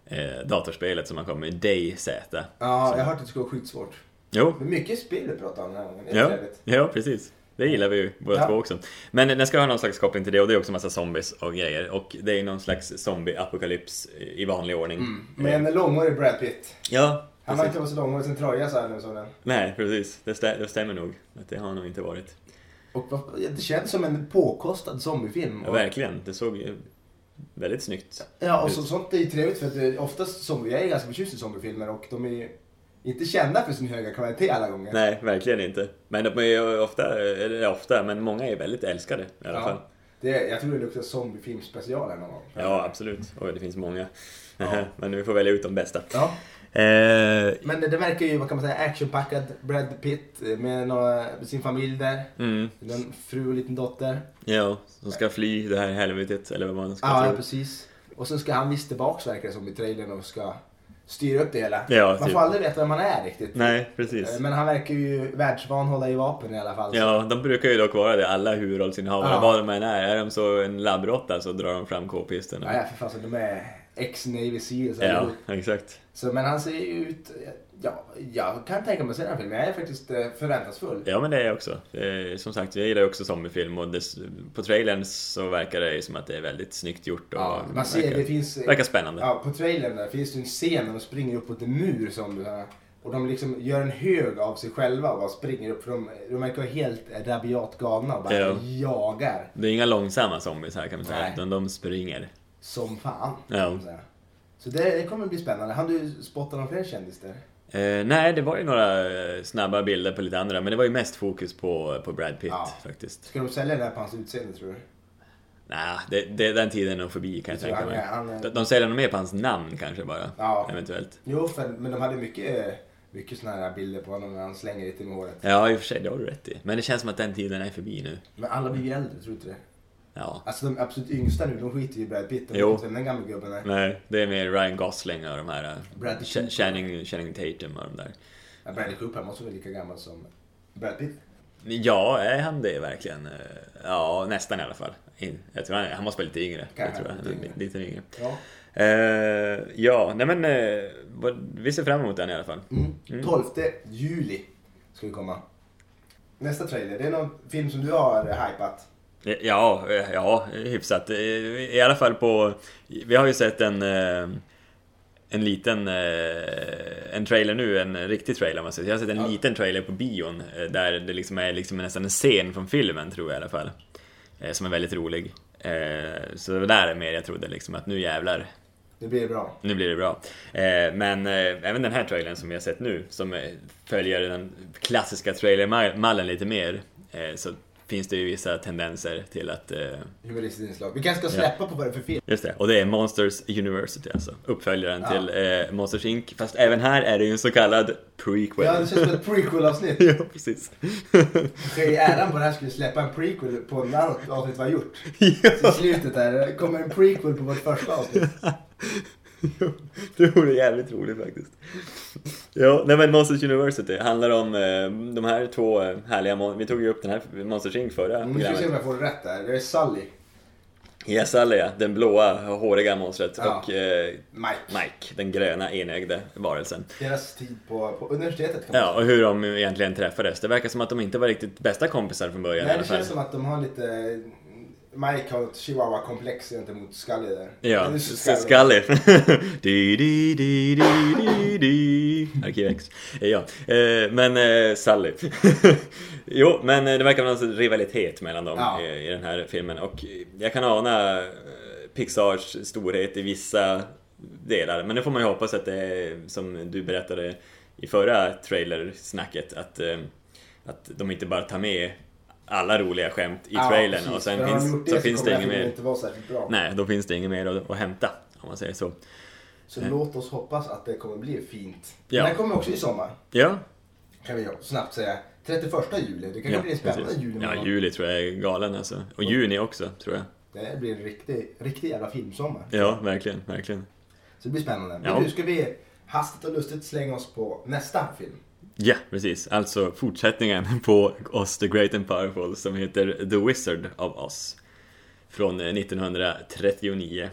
eh, datorspelet som man kommer med, DayZ.
Ja, jag har hört att det skulle vara skitsvårt.
Jo,
Men mycket spel vi pratar om den här gången, det är
Ja,
trevligt.
ja, precis. Det gillar vi ju båda
Ja.
två också. Men den ska ha någon slags koppling till det och det är också massa zombies och grejer. Och det är någon slags zombie-apokalyps i vanlig ordning.
Mm. Men en långhårig Brad Pitt.
Ja,
Han
Mm. precis.
verkar vara så långhårig sen tröja så här nu såg den.
Nej, precis. Det, stä- det stämmer nog. Att det har nog inte varit.
Och vad- det känns som en påkostad zombiefilm.
Ja, verkligen. Det såg ju väldigt snyggt
Ja, och så, sånt är ju trevligt för att det, oftast zombier, jag är ganska förtjust i zombiefilmer och de är ju inte kända för sin höga kvalitet alla gånger.
Nej, verkligen inte. Men de är ju ofta, eller ofta, men många är väldigt älskade i alla fall.
Det, jag tror det luktar zombiefilmspecial här någon gång.
Ja, absolut. Och det finns många. [LAUGHS] men vi får välja ut de bästa.
Ja.
Eh,
Men det, det verkar ju, vad kan man säga, actionpackad Brad Pitt eh, med några, sin familj där.
mm,
En fru och liten dotter.
ja, som ska fly det här helvetet, eller vad man ska
Ja, ja,
tro.
precis. Och sen ska han visst tillbaks verkar det som i trailern och ska styra upp det hela.
Ja,
man
typ.
får aldrig veta vem han är riktigt.
Nej, precis.
Eh, Men han verkar ju världsvan hålla i vapen i alla fall.
Ja, de brukar ju dock vara det, alla huvudrollsinnehavare,
Ja.
vad de än är. Är de så en labbråtta så drar de fram k-pisten.
Ja, ja, för fan, så de är ex-Navy Seals
ja,
allihop.
exakt.
Så, men han ser ju ut... Ja, jag kan tänka mig att se den här filmen. Jag är faktiskt eh, förväntansfull.
Ja men det är jag också. Eh, som sagt, jag gillar ju också zombiefilm och dess, på trailern så verkar det ju som att det är väldigt snyggt gjort och
Ja, man ser,
verkar,
det finns... eh,
verkar spännande.
Ja, på trailern där finns det en scen där de springer upp mot en mur som du här. Och de liksom gör en hög av sig själva och bara springer upp för de, de verkar vara helt rabiat galna och bara
Ja.
jagar
Det är inga långsamma zombies här kan man säga,
Nej.
utan de springer.
som fan.
Ja.
kan man säga. Så det, det kommer bli spännande. Har du spottat några fler kändisar?
Eh, nej, det var ju några eh, snabba bilder på lite andra, men det var ju mest fokus på, på Brad Pitt
Ja.
faktiskt.
Ska de sälja det här på hans utseende tror du?
Nej, det, det, den tiden är nog förbi kan jag
tror
tänka
han
mig.
är- han är-
De, de säljer nog mer på hans namn kanske bara,
Ja.
eventuellt.
Jo, för, men de hade mycket, mycket såna här bilder på honom när han slänger lite med håret.
Ja, i och för sig, det har du rätt i. Men det känns som att den tiden är förbi nu.
Men alla blir ju äldre, tror du inte det?
Ja.
Alltså de absolut yngsta nu, de skiter ju i Brad Pitt. De
Jo.
vet vem den gamla gubben är.
Nej, det är mer Ryan Gosling och de här... eh,
Bradley
Ch-
Cooper.
Channing, Channing Tatum och de där.
Ja, Bradley Cooper måste vara lika gammal som Brad Pitt.
Ja, är han det verkligen? Eh, Ja, nästan i alla fall. In- Jag tror han, han måste vara lite yngre. Jag
Kanske
tror han är
lite yngre.
li- lite yngre.
Ja.
Eh, ja, nej men eh, vad- vi ser fram emot den i alla fall.
Mm. 12 juli ska vi komma. Nästa trailer, det är någon film som du har eh, hypat.
Ja, ja, hyfsat. Eh, I alla fall på... Vi har ju sett en... eh, En liten... eh, En trailer nu, en riktig trailer om man säger. Jag har sett en
Ja.
liten trailer på bion. eh, Där det liksom är liksom nästan en scen från filmen, tror jag i alla fall. eh, Som är väldigt rolig. Eh, Så det var där är mer jag trodde liksom att nu jävlar,
Nu blir det bra.
nu blir det bra. Eh, Men eh, även den här trailern som jag sett nu, som eh, följer den klassiska trailermallen lite mer, eh, så finns det ju vissa tendenser till att... eh,
Humoristiskt inslag. Vi kanske ska släppa på vad det är för film.
Just det, och det är Monsters University alltså, uppföljaren
Ja.
till eh, Monsters Inc. Fast även här är det ju en så kallad prequel.
Ja, det känns som ett [LAUGHS] prequel-avsnitt.
[LAUGHS] ja precis.
Ska jag ge äran på det här skulle släppa en prequel på när avsnitt var gjort. Så
ja.
I slutet där kommer en prequel på vårt första avsnitt.
Jo, [LAUGHS] det vore jävligt roligt faktiskt. Ja, nej men Monsters University handlar om eh, de här två eh, härliga mon- Vi tog ju upp den här Monsters Inc förra
Nu ska vi se om
programmet.
Mm, jag får rätt där. Det är Sully,
Yes, Alia, den blåa, håriga monstret
Ja.
och eh,
Mike.
Mike, den gröna, enögda varelsen.
Deras tid på, på universitetet kan man
Ja, och hur de egentligen träffades. Det verkar som att de inte var riktigt bästa kompisar från början i
Nej,
alla
det
fall.
känns som att de har lite... Mike har ett chihuahua-komplex gentemot Scully där.
Ja,
Eller
så skallig. [LAUGHS] di, di, di, di, di, di. Arkiv X. Ja, eh, men eh, Sally. [LAUGHS] jo, men eh, det verkar vara en rivalitet mellan dem
Ja.
eh, i den här filmen och jag kan ana eh, Pixars storhet i vissa delar. Men nu får man ju hoppas att det är som du berättade i förra trailersnacket att, eh, att de inte bara tar med alla roliga skämt i
Ja,
trailern
precis.
och sen
För har de
finns,
gjort
så finns det
kommer
inget
den här filmen
mer.
inte vara särskilt bra.
Nej, då finns det inget mer att, att hämta om man säger så.
Så låt oss hoppas att det kommer bli fint.
Ja.
Den här kommer också i sommar,
Ja,
kan vi snabbt säga. 31 juli, det kanske
ja,
blir en spännande
precis.
jul.
ja,
någon
juli tror jag är galen alltså. Och juni också tror jag.
gång. Det blir en riktig, riktig jävla filmsommar.
Ja, verkligen, verkligen.
Så det blir spännande.
Ja.
Men nu ska vi hastigt och lustigt slänga oss på nästa film.
Ja, precis. Alltså fortsättningen på Oz the Great and Powerful som heter The Wizard of Oz. Från eh, 1939.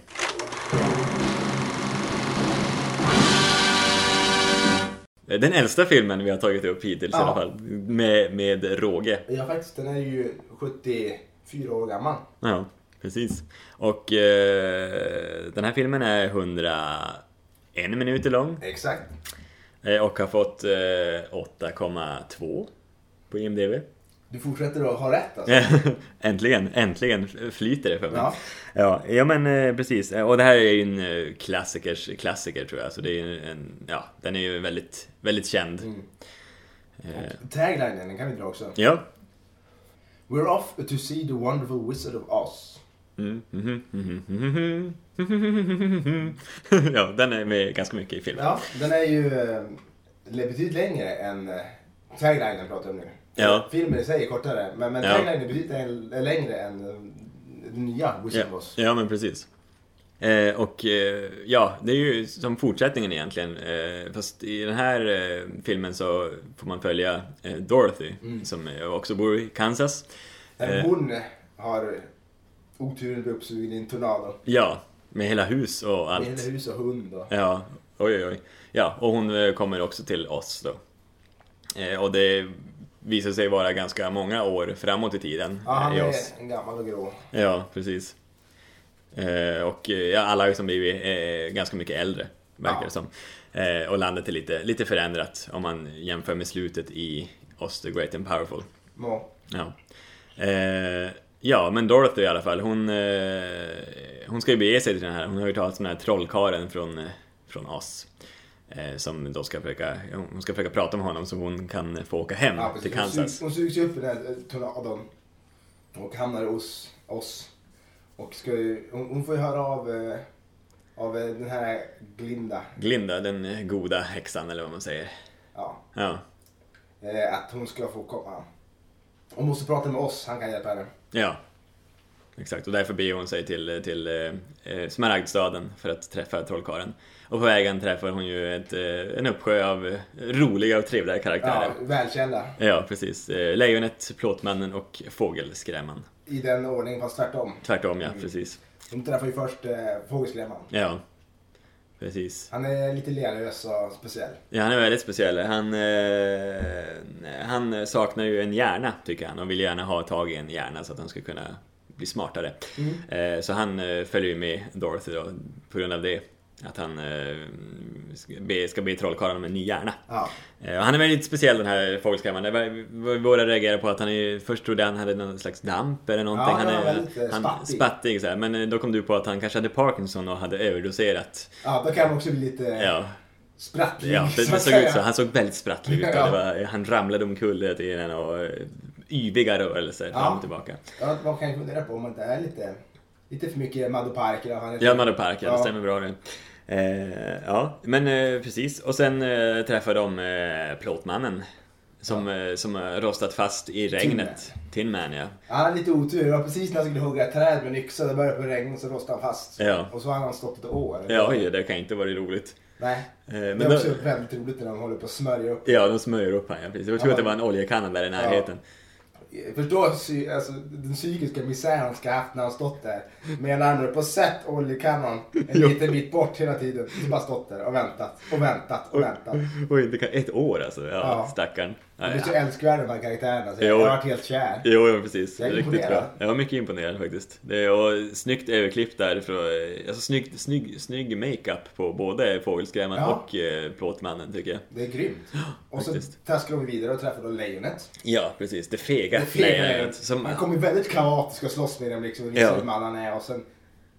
Eh, Den äldsta filmen vi har tagit upp hittills
Ja.
i alla fall. Med, med råge.
Ja, faktiskt, den är ju 74 år gammal.
Ja, precis. Och eh, den här filmen är 101 minuter lång
Exakt.
eh, och har fått eh, 8,2 på IMDB. [LAUGHS]
Du fortsätter att ha rätt alltså.
äntligen, äntligen flyter det för mig.
Ja.
Ja, ja men eh, precis. Eh, Och det här är ju en eh, klassikers klassiker tror jag. Så det är ju en, ja, den är ju väldigt, väldigt känd. Eh,
Taglinen, den kan vi dra också.
ja.
We're off to see the wonderful wizard of Oz.
Mm, mhm, mhm, mhm, mhm. [LAUGHS] ja, den är med ganska mycket i filmen.
Ja, den är ju eh, betydligt längre än eh, taglinen pratar om nu.
Ja.
Filmen i sig är kortare, men, men
Ja.
taglinen är betydligt äl- är längre än eh, den nya Wizard of
Ja,
Oz.
ja men precis. Eh, och eh, ja, det är ju som fortsättningen egentligen. Eh, fast i den här eh, filmen så får man följa eh, Dorothy
Mm.
som eh, också bor i Kansas.
Men
Eh.
Hon har oturen att bli uppsugen i en tornado.
Ja, med hela hus och
Med
allt.
hela hus och hund och...
Ja, oj oj oj. Ja, och hon eh, kommer också till oss då. Eh, och det visar sig vara ganska många år framåt i tiden.
Ja,
eh,
han
i
är
oss.
en gammal och grå.
Ja, precis. Eh, och eh, ja, alla har liksom blivit eh, ganska mycket äldre, verkar
Ja.
det som. Eh, och landet är lite, lite förändrat om man jämför med slutet i Oz the Great and Powerful.
Må.
Ja. Eh, ja, men Dorothy i alla fall, hon, eh, hon ska ju bege sig till den här, hon har ju talat om den här trollkaren från, eh, från Oz. Eh, som då ska försöka, hon ska försöka prata med honom så hon kan få åka hem
Ja,
Mm. till
precis. Hon,
Kansas.
sugs, hon sugs ju upp i den här eh, tornadon och hamnar hos oss. Och ska ju, hon, hon får ju höra av, eh, av eh, den här Glinda,
Glinda, den goda häxan eller vad man säger.
ja,
Ja,
eh, att hon ska få komma. Hon måste prata med oss, han kan hjälpa henne.
Ja. Exakt, och därför beger hon sig till, till eh, eh, Smaragdstaden för att träffa trollkarlen. Och på vägen träffar hon ju ett, eh, en uppsjö av eh, roliga och trevliga karaktärer.
Ja, välkända.
Ja, precis. Eh, Lejonet, Plåtmannen och Fågelskrämman.
I den ordningen, fast tvärtom.
Tvärtom ja, precis.
Hon träffar ju först eh, fågelskrämman.
Ja, precis.
Han är lite lerlös och speciell.
Ja, han är väldigt speciell. Han, eh, han saknar ju en hjärna, tycker han, och vill gärna ha tag i en hjärna så att han ska kunna bli smartare. Eh, så han eh, följer ju med Dorothy då, på grund av det. Att han eh, ska be, ska be trollkarlen om en ny hjärna.
Ja.
Eh, och han är väldigt speciell den här fågelskrämman. Våra reagerar på att han är, först trodde han hade någon slags damp eller någonting.
Ja,
han
ja,
är
väldigt, eh,
han,
spattig.
spattig så här. Men eh, då kom du på att han kanske hade Parkinson och hade överdoserat.
ja, då kan man också bli lite
Ja,
sprattlig.
ja det,
så
det
att
såg
säga.
ut så. Han såg väldigt sprattlig ut. Och
Ja.
det var, han ramlade omkull hela tiden och eh, yviga rörelser
Ja.
fram och tillbaka.
Ja, man kan ju fundera på om man inte är lite, lite för mycket Maddo Park eller vad han heter.
Ja, Madde Park, ja. det
Ja.
stämmer bra det. Eh, ja, men eh, precis. Och sen eh, träffar de eh, plåtmannen. Som, eh, som har rostat fast i regnet. Tin Man, ja.
Ja, Han hade lite otur. Det var precis när han skulle hugga ett träd med en yxa. Det började på regn och så rostade han fast.
Ja.
Och så har han stått ett år.
Ja, oj, det kan inte vara roligt. Eh,
Nej.
men
det är också
då-
väldigt roligt när de håller på att smörja upp.
Ja, de smörjer upp han, ja. Precis. Jag tror
Ja.
att det var en oljekanna där i närheten.
Förstå psy- alltså, den psykiska misär han ska ha haft när han stått där. Med en arm upp och sett oljekannon en
Jo.
liten bit bort hela tiden. Så bara stått där och väntat och väntat och väntat.
Och inte kan... Ett år alltså. Ja,
Ja.
stackarn. Ja,
Jag blir så
ja.
älskvärd de här karaktärerna så
Jo.
jag har varit helt kär.
Jo, ja, precis.
Jag är
Riktigt
imponerad.
bra. Jag var mycket imponerad faktiskt. Det är, och snyggt överklipp där. För, alltså, snygg, snygg, snygg makeup på både Fågelskrämman
Ja.
och eh, Plåtmannen, tycker jag.
Det är
[GASPS]
grymt. Och så
faktiskt.
traskar de vidare och träffar då lejonet.
Ja, precis. Det fega
Det fina
lejonet.
lejonet.
Som,
Han kommer väldigt kaotisk och slåss med dem liksom. Och visar
Ja.
hur man han är och sen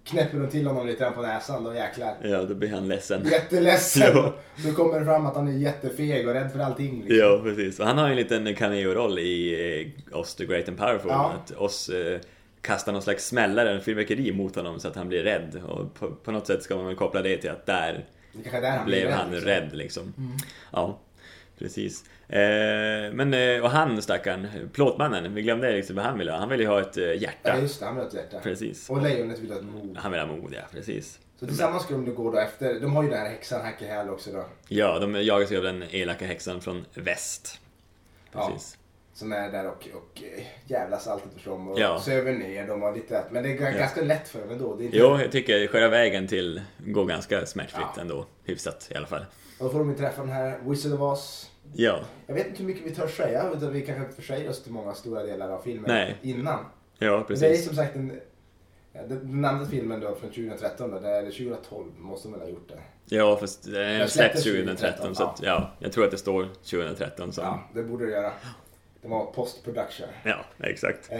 knäpper de till honom lite grann på näsan då jäklar.
ja, då blir han ledsen.
Jätteledsen.
Ja.
Då kommer det fram att han är jättefeg och rädd för allting. Liksom.
Ja, precis. Och han har ju en liten cameo-roll i eh, Oss the Great and Powerful.
Ja.
Att Oss eh, kastar någon slags smällare, en fyrverkeri mot honom så att han blir rädd. Och på, på något sätt ska man väl koppla det till att där
Det kanske är där han
blev han
liksom.
rädd liksom. Ja, precis. Eh, men, eh, och han stackarn, plåtmannen, vi glömde liksom vad han ville ha. Han ville ju ha ett eh, hjärta.
Ja, just det. Han vill ha ett hjärta.
Precis.
Och lejonet vill ha ett mod.
Han vill ha mod, ja precis.
Så tillsammans skulle de då gå då efter. De har ju den här häxan Hacky Hal också då.
Ja, de jagas ju av den elaka häxan från väst.
Ja.
Precis.
Som är där och, och eh, jävlas alltid för dem och
Ja.
söver ner dem och lite att- Men det är g- ganska lätt för dem ändå. Det är inte,
Jo, jag tycker själva vägen till går ganska smärtfritt
Ja.
ändå. Hyfsat i alla fall.
Då får de ju träffa den här Wizard of Oz.
Ja,
Jag vet inte hur mycket vi törs säga utan vi kanske försäger oss till många stora delar av filmen
Nej.
innan.
ja
Men det är
precis.
som sagt en, ja, den den andra filmen då från 2013 då, eller 2012 måste man väl ha gjort det.
Ja, fast eh, den
Den
släpptes
släpptes
2013 så att, ja, jag tror att det står 2013 så.
Ja,
Ja,
det borde det göra. Det var post production.
exakt.
Eh,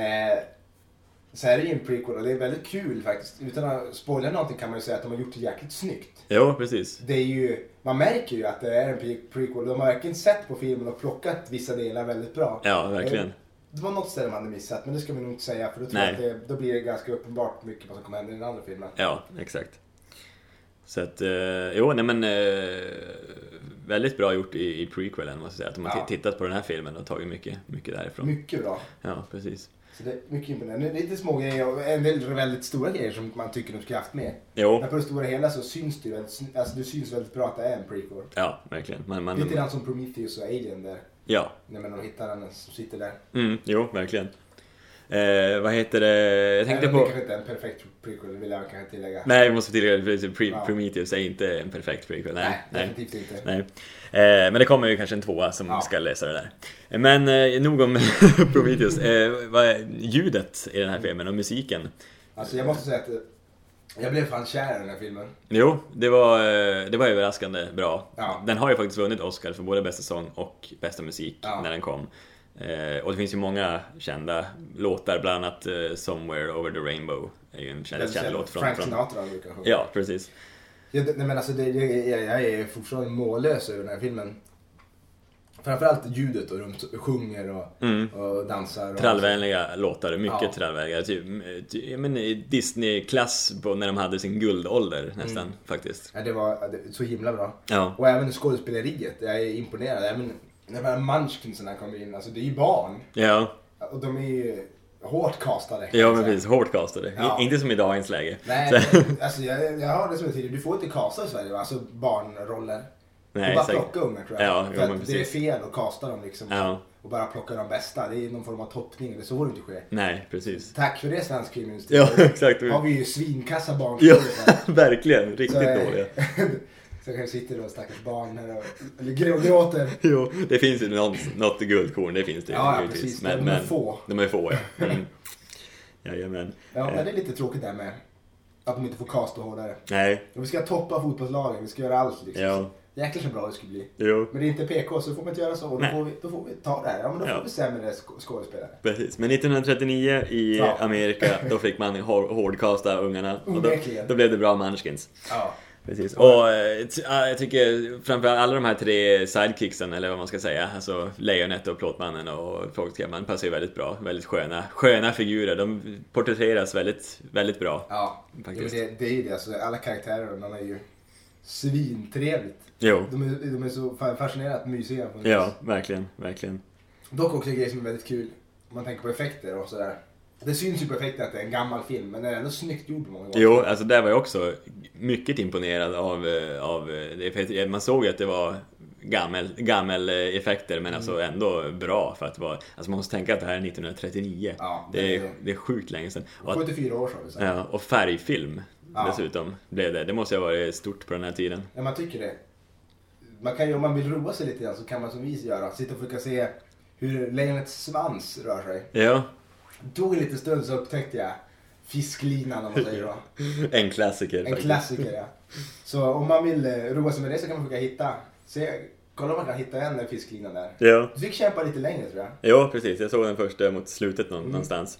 så här är det ju en prequel och det är väldigt kul faktiskt. Utan att spoila någonting kan man ju säga att de har gjort det jäkligt snyggt.
Jo, precis.
Det är ju, man märker ju att det är en pre- prequel. De har verkligen sett på filmen och plockat vissa delar väldigt bra.
Ja, verkligen.
Det var något ställe man hade missat, men det ska vi nog inte säga för då, tror
Nej.
jag att det, då blir det ganska uppenbart mycket vad som kommer hända i den andra filmen.
Ja, exakt. Så att, eh, jo, nej men eh, väldigt bra gjort i, i prequelen måste jag säga. Att de har
Ja. Mm.
ti- tittat på den här filmen och tagit mycket, mycket därifrån.
Mycket bra.
Ja, precis.
Så det är mycket imponerande. Det är lite små grejer och en del väldigt stora grejer som man tycker de skulle haft med.
Jo,
Men på det stora hela så syns det ju väldigt, sn- alltså det syns väldigt bra att det är en prequel.
ja, verkligen. Man,
Lite
man,
grann som Prometheus och Alien där.
ja,
Nej men de hittar den som sitter där.
Mm, jo, verkligen. Eh, vad heter det? Jag tänkte
Även om
på...
Det kanske inte är en perfekt prequel, det vill jag kanske tillägga.
Nej, vi måste tillägga det. Pre
Ja.
Prometheus är inte en perfekt prequel. Nej, nej.
definitivt inte.
nej. Eh, men det kommer ju kanske en tvåa som
Ja.
ska läsa det där. Eh, Men eh, nog om [LAUGHS] Prometheus. Eh, vad är ljudet i den här filmen och musiken?
Alltså jag måste säga att eh, jag blev fan kär i den här filmen.
Jo, det var, eh, det var överraskande bra.
Ja.
Den har ju faktiskt vunnit Oscar för både bästa sång och bästa musik
Ja.
när den kom. Eh, och det finns ju många kända låtar, bland annat eh, Somewhere Over the Rainbow. är ju en känd, känd låt från...
Frank
från
Sinatra brukar sjunga.
Ja, precis.
Ja, det- nej, men alltså, det, jag, jag, jag är fortfarande mållös över den här filmen. Framförallt ljudet och de t- sjunger och,
Mm.
och dansar. Och
Trallvänliga låtar, mycket
Ja.
trallvänliga. Typ, eh, ty, ja, men i Disney-klass på när de hade sin guldålder
Mm.
nästan, faktiskt.
Ja, det var det, så himla bra.
Ja.
Och även skådespeleriet, jag är imponerad. Även när de här munchkinsen här kommer in, alltså det är ju barn.
Ja,
Och de är ju hårt castade. kan
ja
jag
men
säga.
precis. Hårt castade. I-
Ja.
Inte som i dagens läge.
Nej,
Så- [LAUGHS]
det- alltså jag, jag har det som tidigare. Du får inte kasta i Sverige, va? alltså barnroller.
Nej,
Nej, bara
säkert.
plocka ungar tror
Ja,
jag.
jo,
För
men
att det är
precis.
fel att kasta dem liksom.
Ja.
Och bara plocka de bästa. Det är någon form av toppning, eller så får det inte ske.
Nej, precis.
Tack för det svensk filmindustri.
Ja, [LAUGHS] exakt.
har vi ju svinkassa barn.
Ja, [LAUGHS] verkligen. Riktigt
eh,
dåliga.
[LAUGHS] så kanske sitter då stackars barn här och eller grå- grå-
[LAUGHS] Jo, det finns ju något, något guldkorn, det finns det ju
Ja, ja,
givetvis.
precis. De är få.
De är få, ja. Mm. Jajamän.
Ja,
Eh,
men det är lite tråkigt där med. Att de inte får casta hårdare.
nej,
Och vi ska toppa fotbollslagen, vi ska göra allt liksom.
ja,
Jäklar så bra det skulle bli.
jo.
Men det är inte PK så får man inte göra så. Och Då
Nej.
får, vi, då får vi ta det här. Ja, men då
Ja.
får vi sämre sk- skådespelare.
Precis, men 1939 i
Ja.
Amerika då fick man hår- hårdkasta ungarna och då,
Onekligen.
då blev det bra Munchkins.
Ja.
Precis. Och eh, t- ja, jag tycker framförallt alla de här tre sidekicksen, eller vad man ska säga, alltså Lejonet och Plåtmannen och Fågelskrämman passar ju väldigt bra. Väldigt sköna, sköna figurer. De porträtteras väldigt, väldigt bra.
Ja,
Faktiskt.
Jo, men det, det är ju det. Alltså, alla karaktärer de är ju svintrevligt.
Jo,
De är, de är så fa- fascinerat mysiga. på något
ja,
vis.
verkligen, verkligen.
Dock också en grej som är väldigt kul. Om man tänker på effekter och sådär. Det syns ju på effekten att det är en gammal film, men den är ändå snyggt gjord många gånger.
Jo, alltså där var jag också mycket imponerad av, eh, av eh, det. För att Man såg ju att det var gammel, gammel eh, effekter men alltså
Mm.
ändå bra för att vara... Alltså man måste tänka att det här är 1939.
Ja,
det, är,
det-
det är sjukt länge sedan. Och, att,
74 år sa vi så.
ja, och färgfilm
Ja.
dessutom blev det. Det måste ju ha varit stort på den här tiden.
Ja, man tycker det. Man kan ju, om man vill roa sig lite grann så kan man som vi göra, sitta och försöka se hur lejonets svans rör sig.
Ja,
Det tog en liten stund så upptäckte jag fisklinan om man säger då.
en klassiker
En klassiker ja. Så om man vill eh, roa sig med det så kan man försöka hitta, se, kolla om man kan hitta en fisklina där.
Ja.
Du fick kämpa lite längre tror jag.
ja, precis. Jag såg den första mot slutet
Mm.
nå- någonstans.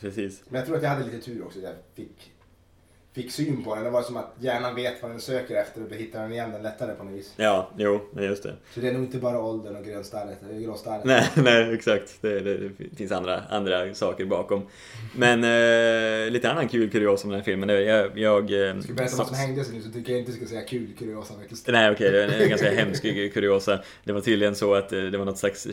Precis.
Men jag tror att jag hade lite tur också. Jag fick, fick syn på den. Det var som att hjärnan vet vad den söker efter och då hittar den igen den lättare på något vis.
Ja, jo, men just det.
Så det är nog inte bara åldern och grönstarret, eller gråstarret.
Nej, [LAUGHS] nej exakt. Det, det, det finns andra, andra saker bakom. Men eh, lite annan kul kurios om den här filmen. det- Jag, jag, eh,
Ska vi berätta vad som
sa-
hängde sig nu så tycker jag inte du ska säga kul kuriosa faktiskt.
Nej okej, det är en ganska hemsk kuriosa. Det var tydligen så att eh, det var något slags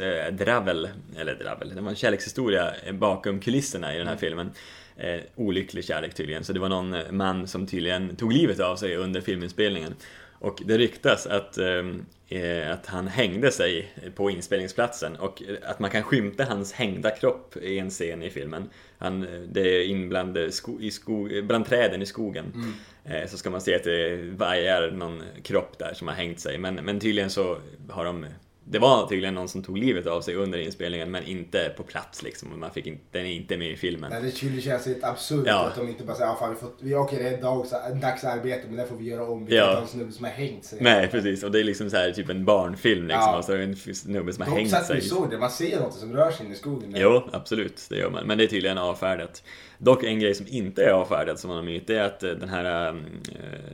kärleksdravel, eller dravel, det var en kärlekshistoria bakom kulisserna i den här filmen. Eh, olycklig kärlek tydligen, så det var någon eh, man som tydligen tog livet av sig under filminspelningen. Och det ryktas att, ehm, eh, att han hängde sig på inspelningsplatsen och eh, att man kan skymta hans hängda kropp i en scen i filmen. Han, eh, det är inbland, eh, sko, i sko, eh, bland träden i skogen. Eh, Så ska man se att det vajar någon kropp där som har hängt sig. Men, men tydligen så har de... Det var tydligen någon som tog livet av sig under inspelningen men inte på plats liksom. Och Man fick inte, den är inte med i filmen.
Nej, det skulle kännas lite absurt
Ja.
att de inte bara säger ja, fan, vi får, vi, okej det är dags, dags arbete men det får vi göra om. Vi
Ja.
kan ta en snubbe som har hängt sig.
Nej precis, och det är liksom så här typ en barnfilm liksom.
Ja.
Och så är det en snubbe som har
Dock
hängt
så att vi
sig.
såg det, man ser något som rör sig inne i skogen.
Jo, absolut, det gör man. Men det är tydligen avfärdat. Dock en grej som inte är avfärdat som man har myt, det är att eh, den här eh,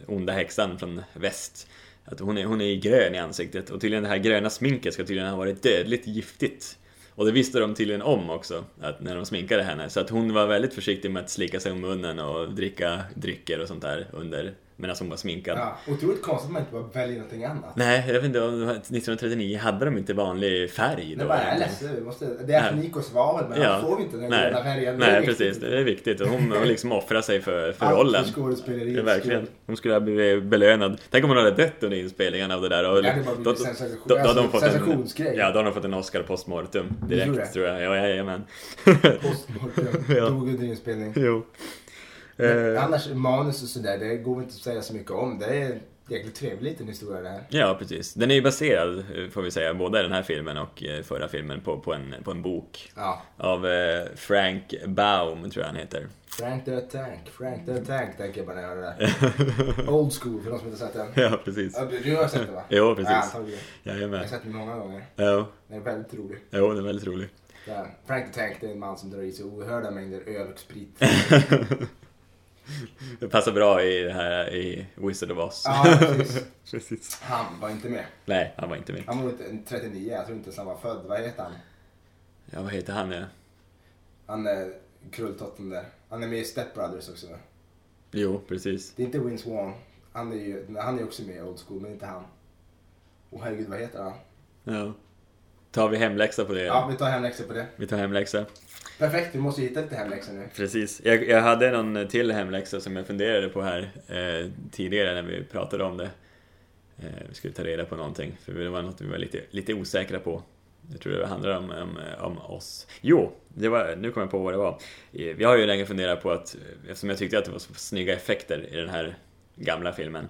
onda häxan från väst, att hon är, hon är grön i ansiktet och tydligen det här gröna sminket ska tydligen ha varit dödligt giftigt. Och det visste de tydligen om också, att när de sminkade henne. Så att hon var väldigt försiktig med att slicka sig om munnen och dricka drycker och sånt där under, medan hon var sminkad.
Ja, otroligt konstigt att man inte bara väljer någonting annat.
Nej, jag vet inte, om- 1939 hade de inte vanlig färg då?
Det var
eller?
ärligt, vi måste, det är
Nej.
Nikos val men han får vi inte den här
Nej.
gröna färgen. Det är
Nej,
viktigt.
precis. Det är viktigt. Och Hon hon liksom offrar sig för, för
Allt
rollen.
för skådespeleriets
Ja, verkligen.
skull.
Hon skulle ha blivit belönad. Tänk om hon hade dött under inspelningen av det där. Och
Det hade bara blivit
då- då-
sensation-
då- då hade
alltså,
hon fått en-
sensationsgrej.
Ja, då hade hon fått en Oscar post mortem
tror
direkt,
det?
tror jag. Ja, jajamän.
Postmortem
[LAUGHS] Ja.
dog under inspelning.
jo.
Men
Eh,
Annars manus och sådär, det går väl inte att säga så mycket om. Det är en jäkligt trevlig liten historia det här.
Ja, precis. Den är ju baserad, eh, får vi säga, både den här filmen och eh, förra filmen på, på, en, på en bok.
Ja.
Av eh, Frank Baum, tror jag han heter. [LAUGHS]
Frank the Tank, Frank the Tank tänker jag bara när jag hör det där. Old school för de som inte sett den.
Ja, precis.
Ja, du, du har sett den va?
Jo, precis.
Ja, antagligen. jag
Jajamän.
har sett den många gånger.
Jo,
Den är väldigt rolig.
jo, den är väldigt rolig.
Ja, Frank the Tank det är en man som drar i sig oerhörda mängder öl och sprit.
Det passar bra i det här i Wizard of Oz.
Ja, precis.
Precis.
Han var inte med.
Nej, han var inte med.
Han var inte 39, jag tror inte ens han var född. Vad heter han?
Ja, vad heter han? Ja.
Han är krulltotten där. Han är med i Step Brothers också. va?
Jo, precis.
Det är inte Win Swan. Han är ju men han är också med i Old School, men inte han. Åh herregud, vad heter han?
Ja. Tar vi hemläxa på det?
Ja, vi tar hemläxor på det.
Vi tar hemläxa.
Perfekt, vi måste ju hitta lite hemläxor nu.
Precis. Jag, jag hade någon till hemläxa som jag funderade på här eh, tidigare när vi pratade om det. Eh, vi skulle ta reda på någonting, för det var något vi var lite, lite osäkra på. Jag tror det handlar om, om, om oss. Jo, det var, nu kom jag på vad det var. Eh, Jag har ju länge funderat på att, eh, eftersom jag tyckte att det var så snygga effekter i den här gamla filmen,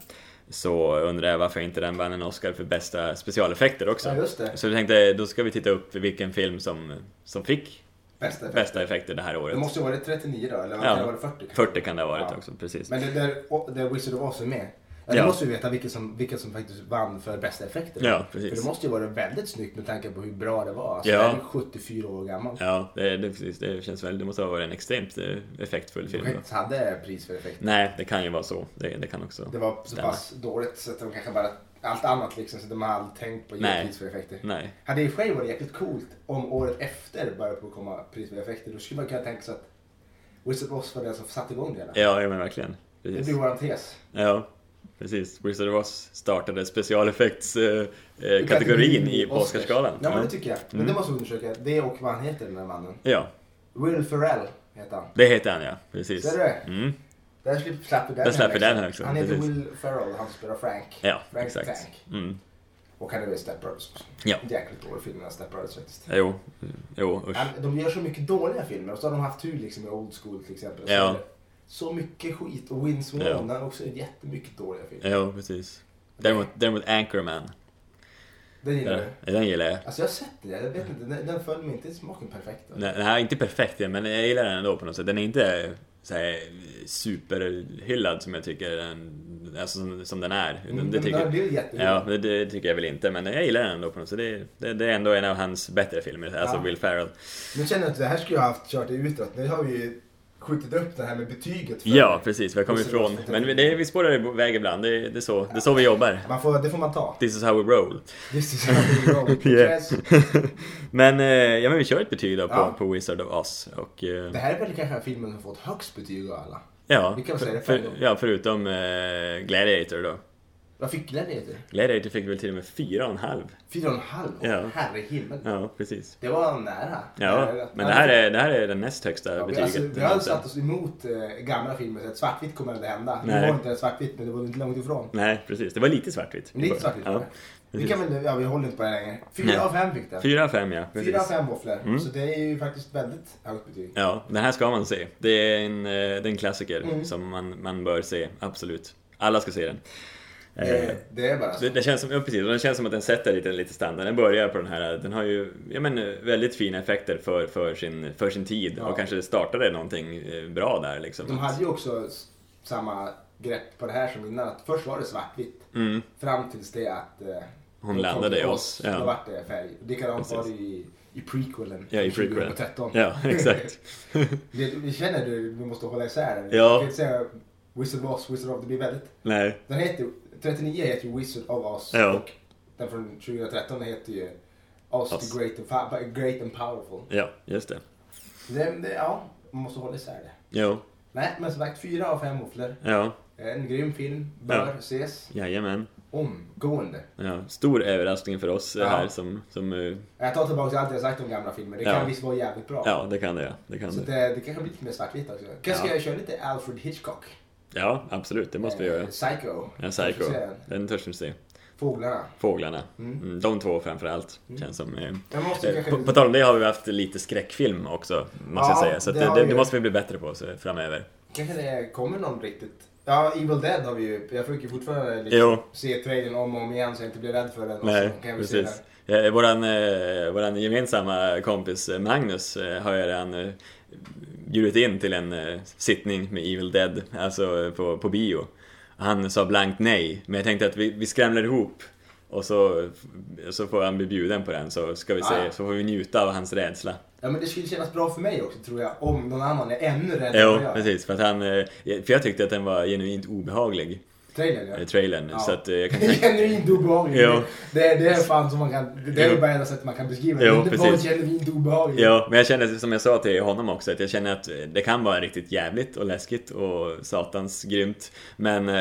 så undrar jag varför inte den vann en Oscar för bästa specialeffekter också.
Ja, just det.
Så jag tänkte, då ska vi titta upp vilken film som, som fick
Bästa effekt.
bästa effekter det här året.
Det måste ju ha varit 39 då, eller vad
Ja.
kan det ha varit 40?
40 kan det ha varit
Ja.
också, precis.
Men det där, där Wizard of Oz är med. Ja,
Ja.
Då måste vi veta vilka som, vilka som faktiskt vann för bästa effekter.
Ja,
För
precis.
det måste ju vara väldigt snyggt med tanke på hur bra det var. Alltså,
Ja.
Den är 74 år gammal.
Ja, det, det, precis, det känns väl, det måste ha varit en extremt eh, effektfull film. Då.
Projektet hade pris för effekt.
Nej, det kan ju vara så. Det, det kan också...
Det var så
Stämmer.
pass dåligt så att de kanske bara... Allt annat liksom, så de har aldrig tänkt på att ge
Nej.
pris för effekter.
Nej.
Hade i och för sig varit jäkligt coolt om året efter började på att komma pris för effekter. Då skulle man kunna tänka sig att Wizard of Oz var den som satte igång det hela.
Ja, ja men verkligen.
Det
Precis.
blir våran tes.
Ja, precis. Wizard of Oz startade specialeffekts-kategorin Eh, i på Oscarsgalan.
Ja, men
Ja. Mm.
det tycker jag. Men det måste vi undersöka. Det och vad han heter den där mannen.
ja,
Will Ferrell heter han.
det heter han ja. Precis.
Ser du det?
Mm.
Där slipper- slapp vi den.
Där slapp vi
här
den
också.
här också,
Han heter
precis.
Will Ferrell, han spelar Frank.
Ja,
Frank
exakt.
Frank.
Mm.
Och han är väl i Step Brothers också.
Ja.
Jäkligt dålig film, den här Step Brothers faktiskt.
Jo, jo usch.
Han- De gör så mycket dåliga filmer och så har de haft tur liksom med Old School till exempel. Så,
Ja.
är det så mycket skit och Wins
Ja.
Winona ja. också är jättemycket dåliga filmer.
Jo, precis. Däremot, däremot Anchorman.
Den gillar
Ja,
du?
Den gillar jag.
Alltså jag har sett det, jag vet inte, den, den föll mig inte i smaken perfekt. alltså. Då.
Den den här är inte perfekt men jag gillar den ändå på något sätt. Den är inte så här, superhyllad som jag tycker den, alltså, som, som den är.
Mm,
det
den
tycker,
har blivit jättebra.
Ja, det, det tycker jag väl inte, men jag gillar den ändå på något sätt. Det, det, det är ändå en av hans bättre filmer, alltså
Ja.
Will Ferrell.
Nu känner jag att det här skulle jag ha haft kört i utåt. Nu har vi ju skjutit upp det här med betyget. för-
Ja, precis, vi har kommit
Och så var
ifrån.
det-
Men det, vi spårar iväg ibland, det, det, är så, det är så vi jobbar.
Man får, det får man ta.
This is how we roll. [LAUGHS]
This is how we roll.
Yeah.
Yes.
men, eh, ja, men vi kör ett betyg då på,
Ja.
på Wizard of Oz. Och, eh,
Det här är väl kanske filmen som fått högst betyg av alla.
ja,
vi kan väl säga det
för,
fem gånger.
ja, förutom eh, Gladiator då.
Vad fick Gladiator?
Gladiator fick väl till och med fyra och en halv.
Fyra och en halv? Åh,
Ja.
Herre himmel.
Ja, precis.
Det var nära.
Ja,
Nära.
men det här är, det här är den näst högsta
Alltså- Ja, vi-
betyget.
Alltså, vi har ju satt oss emot eh, gamla filmer, så att svartvitt kommer aldrig hända.
Nej.
Det var inte ens svartvitt, men det var inte långt ifrån.
Nej, precis. Det var lite svartvitt.
Men det är inte svartvitt.
Ja,
vi kan väl, ja vi håller inte på det längre.
Nej.
Fyra av fem fick det.
Fyra av fem, ja. precis. Mm.
Fyra av fem våfflor. Så det är ju faktiskt väldigt högt betyg.
Ja, den här ska man se. Det är en, eh, det är en klassiker
Mm.
som man, man bör se, absolut. Alla ska se den. Eh,
Det, det är bara så.
Det, det, känns som, ja, precis, och det känns som att den sätter lite, lite standard. Den börjar på den här, den har ju ja, men, eh, väldigt fina effekter för, för, sin, för sin tid
Ja.
och kanske startade någonting eh, bra där liksom.
De hade ju också s- samma grepp på det här som innan. Att först var det svartvitt.
Mm,
Fram tills det att... Eh,
Hon
de
landade
kom till
i oss, ja.
Då vart det färg. Likadant var det
Precis.
i, i prequelen.
ja, i
från
prequel.
2013. [LAUGHS]
Ja, [LAUGHS] exakt.
Vi, vi känner du, vi måste hålla isär det.
Ja.
Vi kan inte säga Wizard of Oz, Wizard of... Det blir väldigt...
Nej,
Den heter, 39 heter ju Wizard of Oz.
Ja.
Och den från 2013 heter ju Oz,
Oz.
The Great and, Fa- Great and Powerful.
ja, just det.
Det, det, ja, man måste hålla isär det.
Jo,
Nej, men som sagt, fyra av fem våfflor.
ja,
En grym film. Bör
Ja.
ses
jajamän.
omgående.
Ja, stor överraskning för oss eh,
Ja.
här som, som eh,
Jag tar tillbaka allt jag sagt om gamla filmer. Det kan
Ja.
visst vara jävligt bra.
ja, det kan det ja. Det kan
Så
det.
det, det kanske blir lite mer svartvitt också. Kanske ska
Ja.
jag köra lite Alfred Hitchcock.
Ja, absolut, det måste vi
Eh,
göra.
Psycho.
Ja,
Jag får
Psycho.
se den.
Den törs vi se.
Fåglarna.
Fåglarna.
Mm.
Mm, de två framförallt. Känns som... Eh,
Jag måste
eh,
kanske...
på, på tal om det har vi haft lite skräckfilm också, måste
Ja,
jag säga. Så att
det
det,
har
det,
vi.
det måste vi bli bättre på så, framöver.
Kanske det kommer någon riktigt... Ja, Evil Dead har vi ju. Jag försöker fortfarande liksom
Jo.
se trailern om och om igen så jag inte blir rädd för den. och
Nej,
så Alltså, kan jag väl se
precis. Eh, våran, eh, våran gemensamma kompis eh, Magnus eh, har ju redan eh, bjudit in till en eh, sittning med Evil Dead, alltså eh, på, på bio. Han sa blankt nej, men jag tänkte att vi, vi skramlar ihop och så, eh, så får han bli bjuden på den så ska vi se,
Ah.
så får vi njuta av hans rädsla.
Ja, men det skulle kännas bra för mig också tror jag. Om någon annan är ännu räddare
Jo,
än vad jag är.
precis. För, att han, eh, för jag tyckte att den var genuint obehaglig,
Trailern ja.
eh, trailern.
Ja.
Så att eh, jag kan
[LAUGHS]
tänka...
genuint obehaglig.
Jo.
Det, det är fan som man kan... Det är
Jo.
det enda sättet man kan beskriva det.
Jo,
Men det var
precis.
genuint obehagligt.
Ja, men jag känner som jag sa till honom också att jag känner att det kan vara riktigt jävligt och läskigt och satans grymt. Men eh,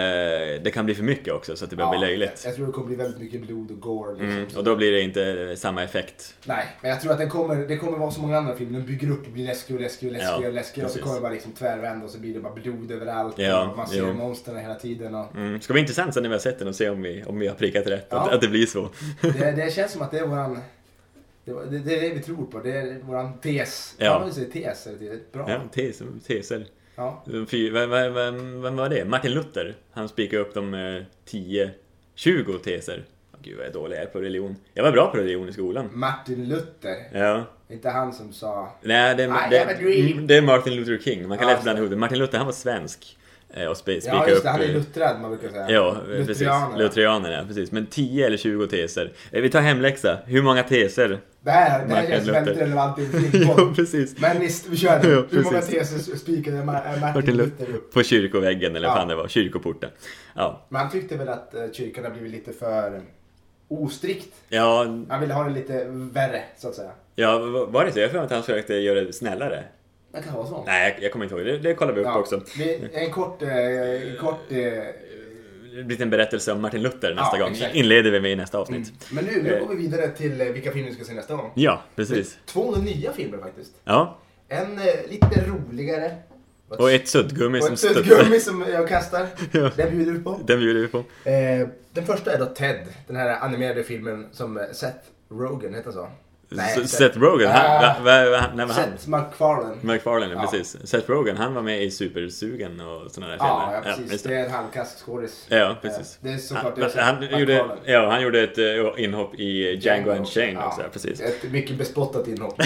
det kan bli för mycket också så att det börjar bli löjligt.
Jag, jag tror det kommer bli väldigt mycket blod och gore. Liksom.
Mm, och då blir det inte samma effekt.
Nej, men jag tror att den kommer, det kommer vara som många andra filmer. Den bygger upp och blir läskig och läskig och läskig
Ja,
och läskig. Och så
precis.
kommer det bara liksom tvärvända och så blir det bara blod överallt.
Ja,
och man ser
jo.
monstren hela tiden. Och
Mm. Ska bli intressant sen när vi har sett den och se om vi, om vi har prickat rätt,
Ja.
att, att det blir så.
det, det känns som att det är våran... Det, var- det, det är det vi tror på. Det är våran tes.
Ja.
Ja. Man säger tes. är Det är bra.
Ja, tes, teser.
Ja.
Fy, vem, vem, vem, vem var det? Martin Luther? Han spikade upp de eh, 10, 20 teser gud vad jag är dålig jag är på religion. Jag var bra på religion i skolan.
Martin Luther.
Ja.
Inte han som sa...
Nej, det,
I have
det,
a dream.
mm, det är Martin Luther King. Man kan
Ah, Ja,
lätt blanda ihop det. Martin Luther, han var svensk. eh, Och spe-
Ja
spikade
just
upp...
det, han är
eh,
luttrad man brukar säga.
Ja, eh, precis.
Lutheraner.
Lutheranerna, ja, precis. Men 10 eller 20 teser. Eh, Vi tar hemläxa. Hur många teser?
Det här, det här
Martin
känns
Luther.
väldigt relevant i
[LAUGHS]
en
jo,
filmpodd.
precis.
Men visst, vi kör det.
Ja,
Hur många
precis.
teser spikade Ma-
Martin
Martin Luther upp?
På kyrkoväggen eller vad
Ja.
fan det var. Kyrkoporten. Ja.
Men han tyckte väl att eh, kyrkan har blivit lite för ostrikt.
Ja,
Han ville ha det lite värre, så att säga.
ja, v- var det så? Jag har för mig att han försökte göra det snällare.
Det kan vara så.
Nej, jag, jag kommer inte ihåg. Det, det kollar vi upp också.
vi- En kort... eh, En kort eh,
En liten berättelse om Martin Luther nästa
Ja,
gång.
exakt. Mm.
Inleder vi med i nästa avsnitt.
men nu, nu går vi vidare till eh, vilka filmer vi ska se nästa gång.
Ja, precis.
Två nya filmer faktiskt.
Ja.
En eh, lite roligare.
Och ett suddgummi
och
som
ett
studsar.
suddgummi som jag kastar.
[LAUGHS] Ja.
Den bjuder du på.
Den bjuder vi på.
Eh, den första är då Ted, den här animerade filmen som eh, Seth Rogen, heter han så?
S- Seth Rogen, han, va,
Ah.
va, va, nej, men han,
Seth MacFarlane.
McFarlane,
Ja. Ah,
precis. Seth Rogen, han var med i Supersugen och sådana där
Ja, ja,
filmer.
precis.
just
det är en halvkass skådis.
Ja, precis.
Eh, Det är såklart det är
han,
Seth
han, gjorde,
MacFarlane.
ja, han gjorde ett eh, inhopp i Django Unchained
Ja,
också, ja, precis.
Ett mycket bespottat
[LAUGHS]
inhopp.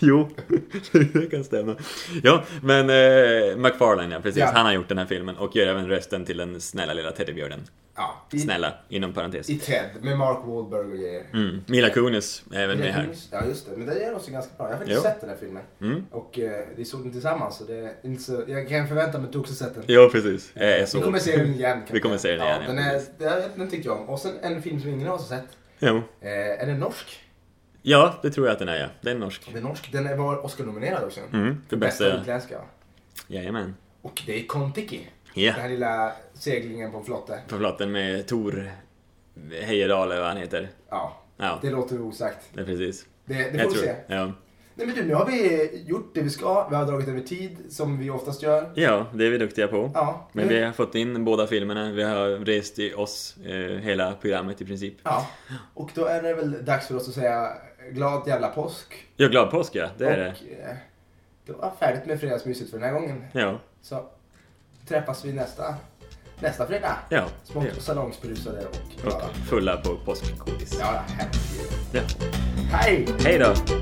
Jo, [LAUGHS] det kan stämma. Ja, men eh, McFarlane, ja, precis.
Ja.
Han har gjort den här filmen och gör även rösten till den snälla lilla teddybjörnen.
Ja, i,
Snälla, inom parentes.
I Ted, med Mark Wahlberg och grejer.
Mm. Mila Kunis är även med här.
Ja just det, men det är också ganska bra. Jag har faktiskt
Jo. Mm.
sett den här filmen. Och eh, vi såg den tillsammans så det är inte så... Jag kan förvänta mig att du också sett den.
Ja, precis. Eh, jag
Vi
såg-
kommer se den igen kanske.
[LAUGHS] Vi kommer se den igen,
Ja,
ja,
den, är,
precis.
den, den tyckte jag om. Och sen en film som ingen av oss har sett.
Jo.
Eh, är den norsk?
Ja, det tror jag att den är, ja. Den är norsk.
Den är norsk. Den är- var Oscar-nominerad också.
Mm, för bästa...
utländska.
Jajamän.
Och det är Kontiki.
Ja.
Den här lilla seglingen på en flotte.
På platten med Tor Heyerdahl eller vad han heter.
Ja,
Ja,
det låter osagt.
det är precis.
Det, det
jag
får vi se.
Ja.
Nej men du, nu har vi gjort det vi ska. Vi har dragit över tid, som vi oftast gör.
ja, det är vi duktiga på.
Ja.
Men
nu-
vi har fått in båda filmerna. Vi har rest i oss eh, hela programmet i princip.
Ja, och då är det väl dags för oss att säga glad jävla påsk.
Ja, glad påsk ja. Det är det.
och eh, det var färdigt med fredagsmyset för den här gången.
Ja,
Så träffas vi nästa, nästa fredag.
ja.
Smått
ja.
salongsberusade och glada.
Och fulla på påskgodis.
Ja, herregud.
Ja.
Hej!
Hej då!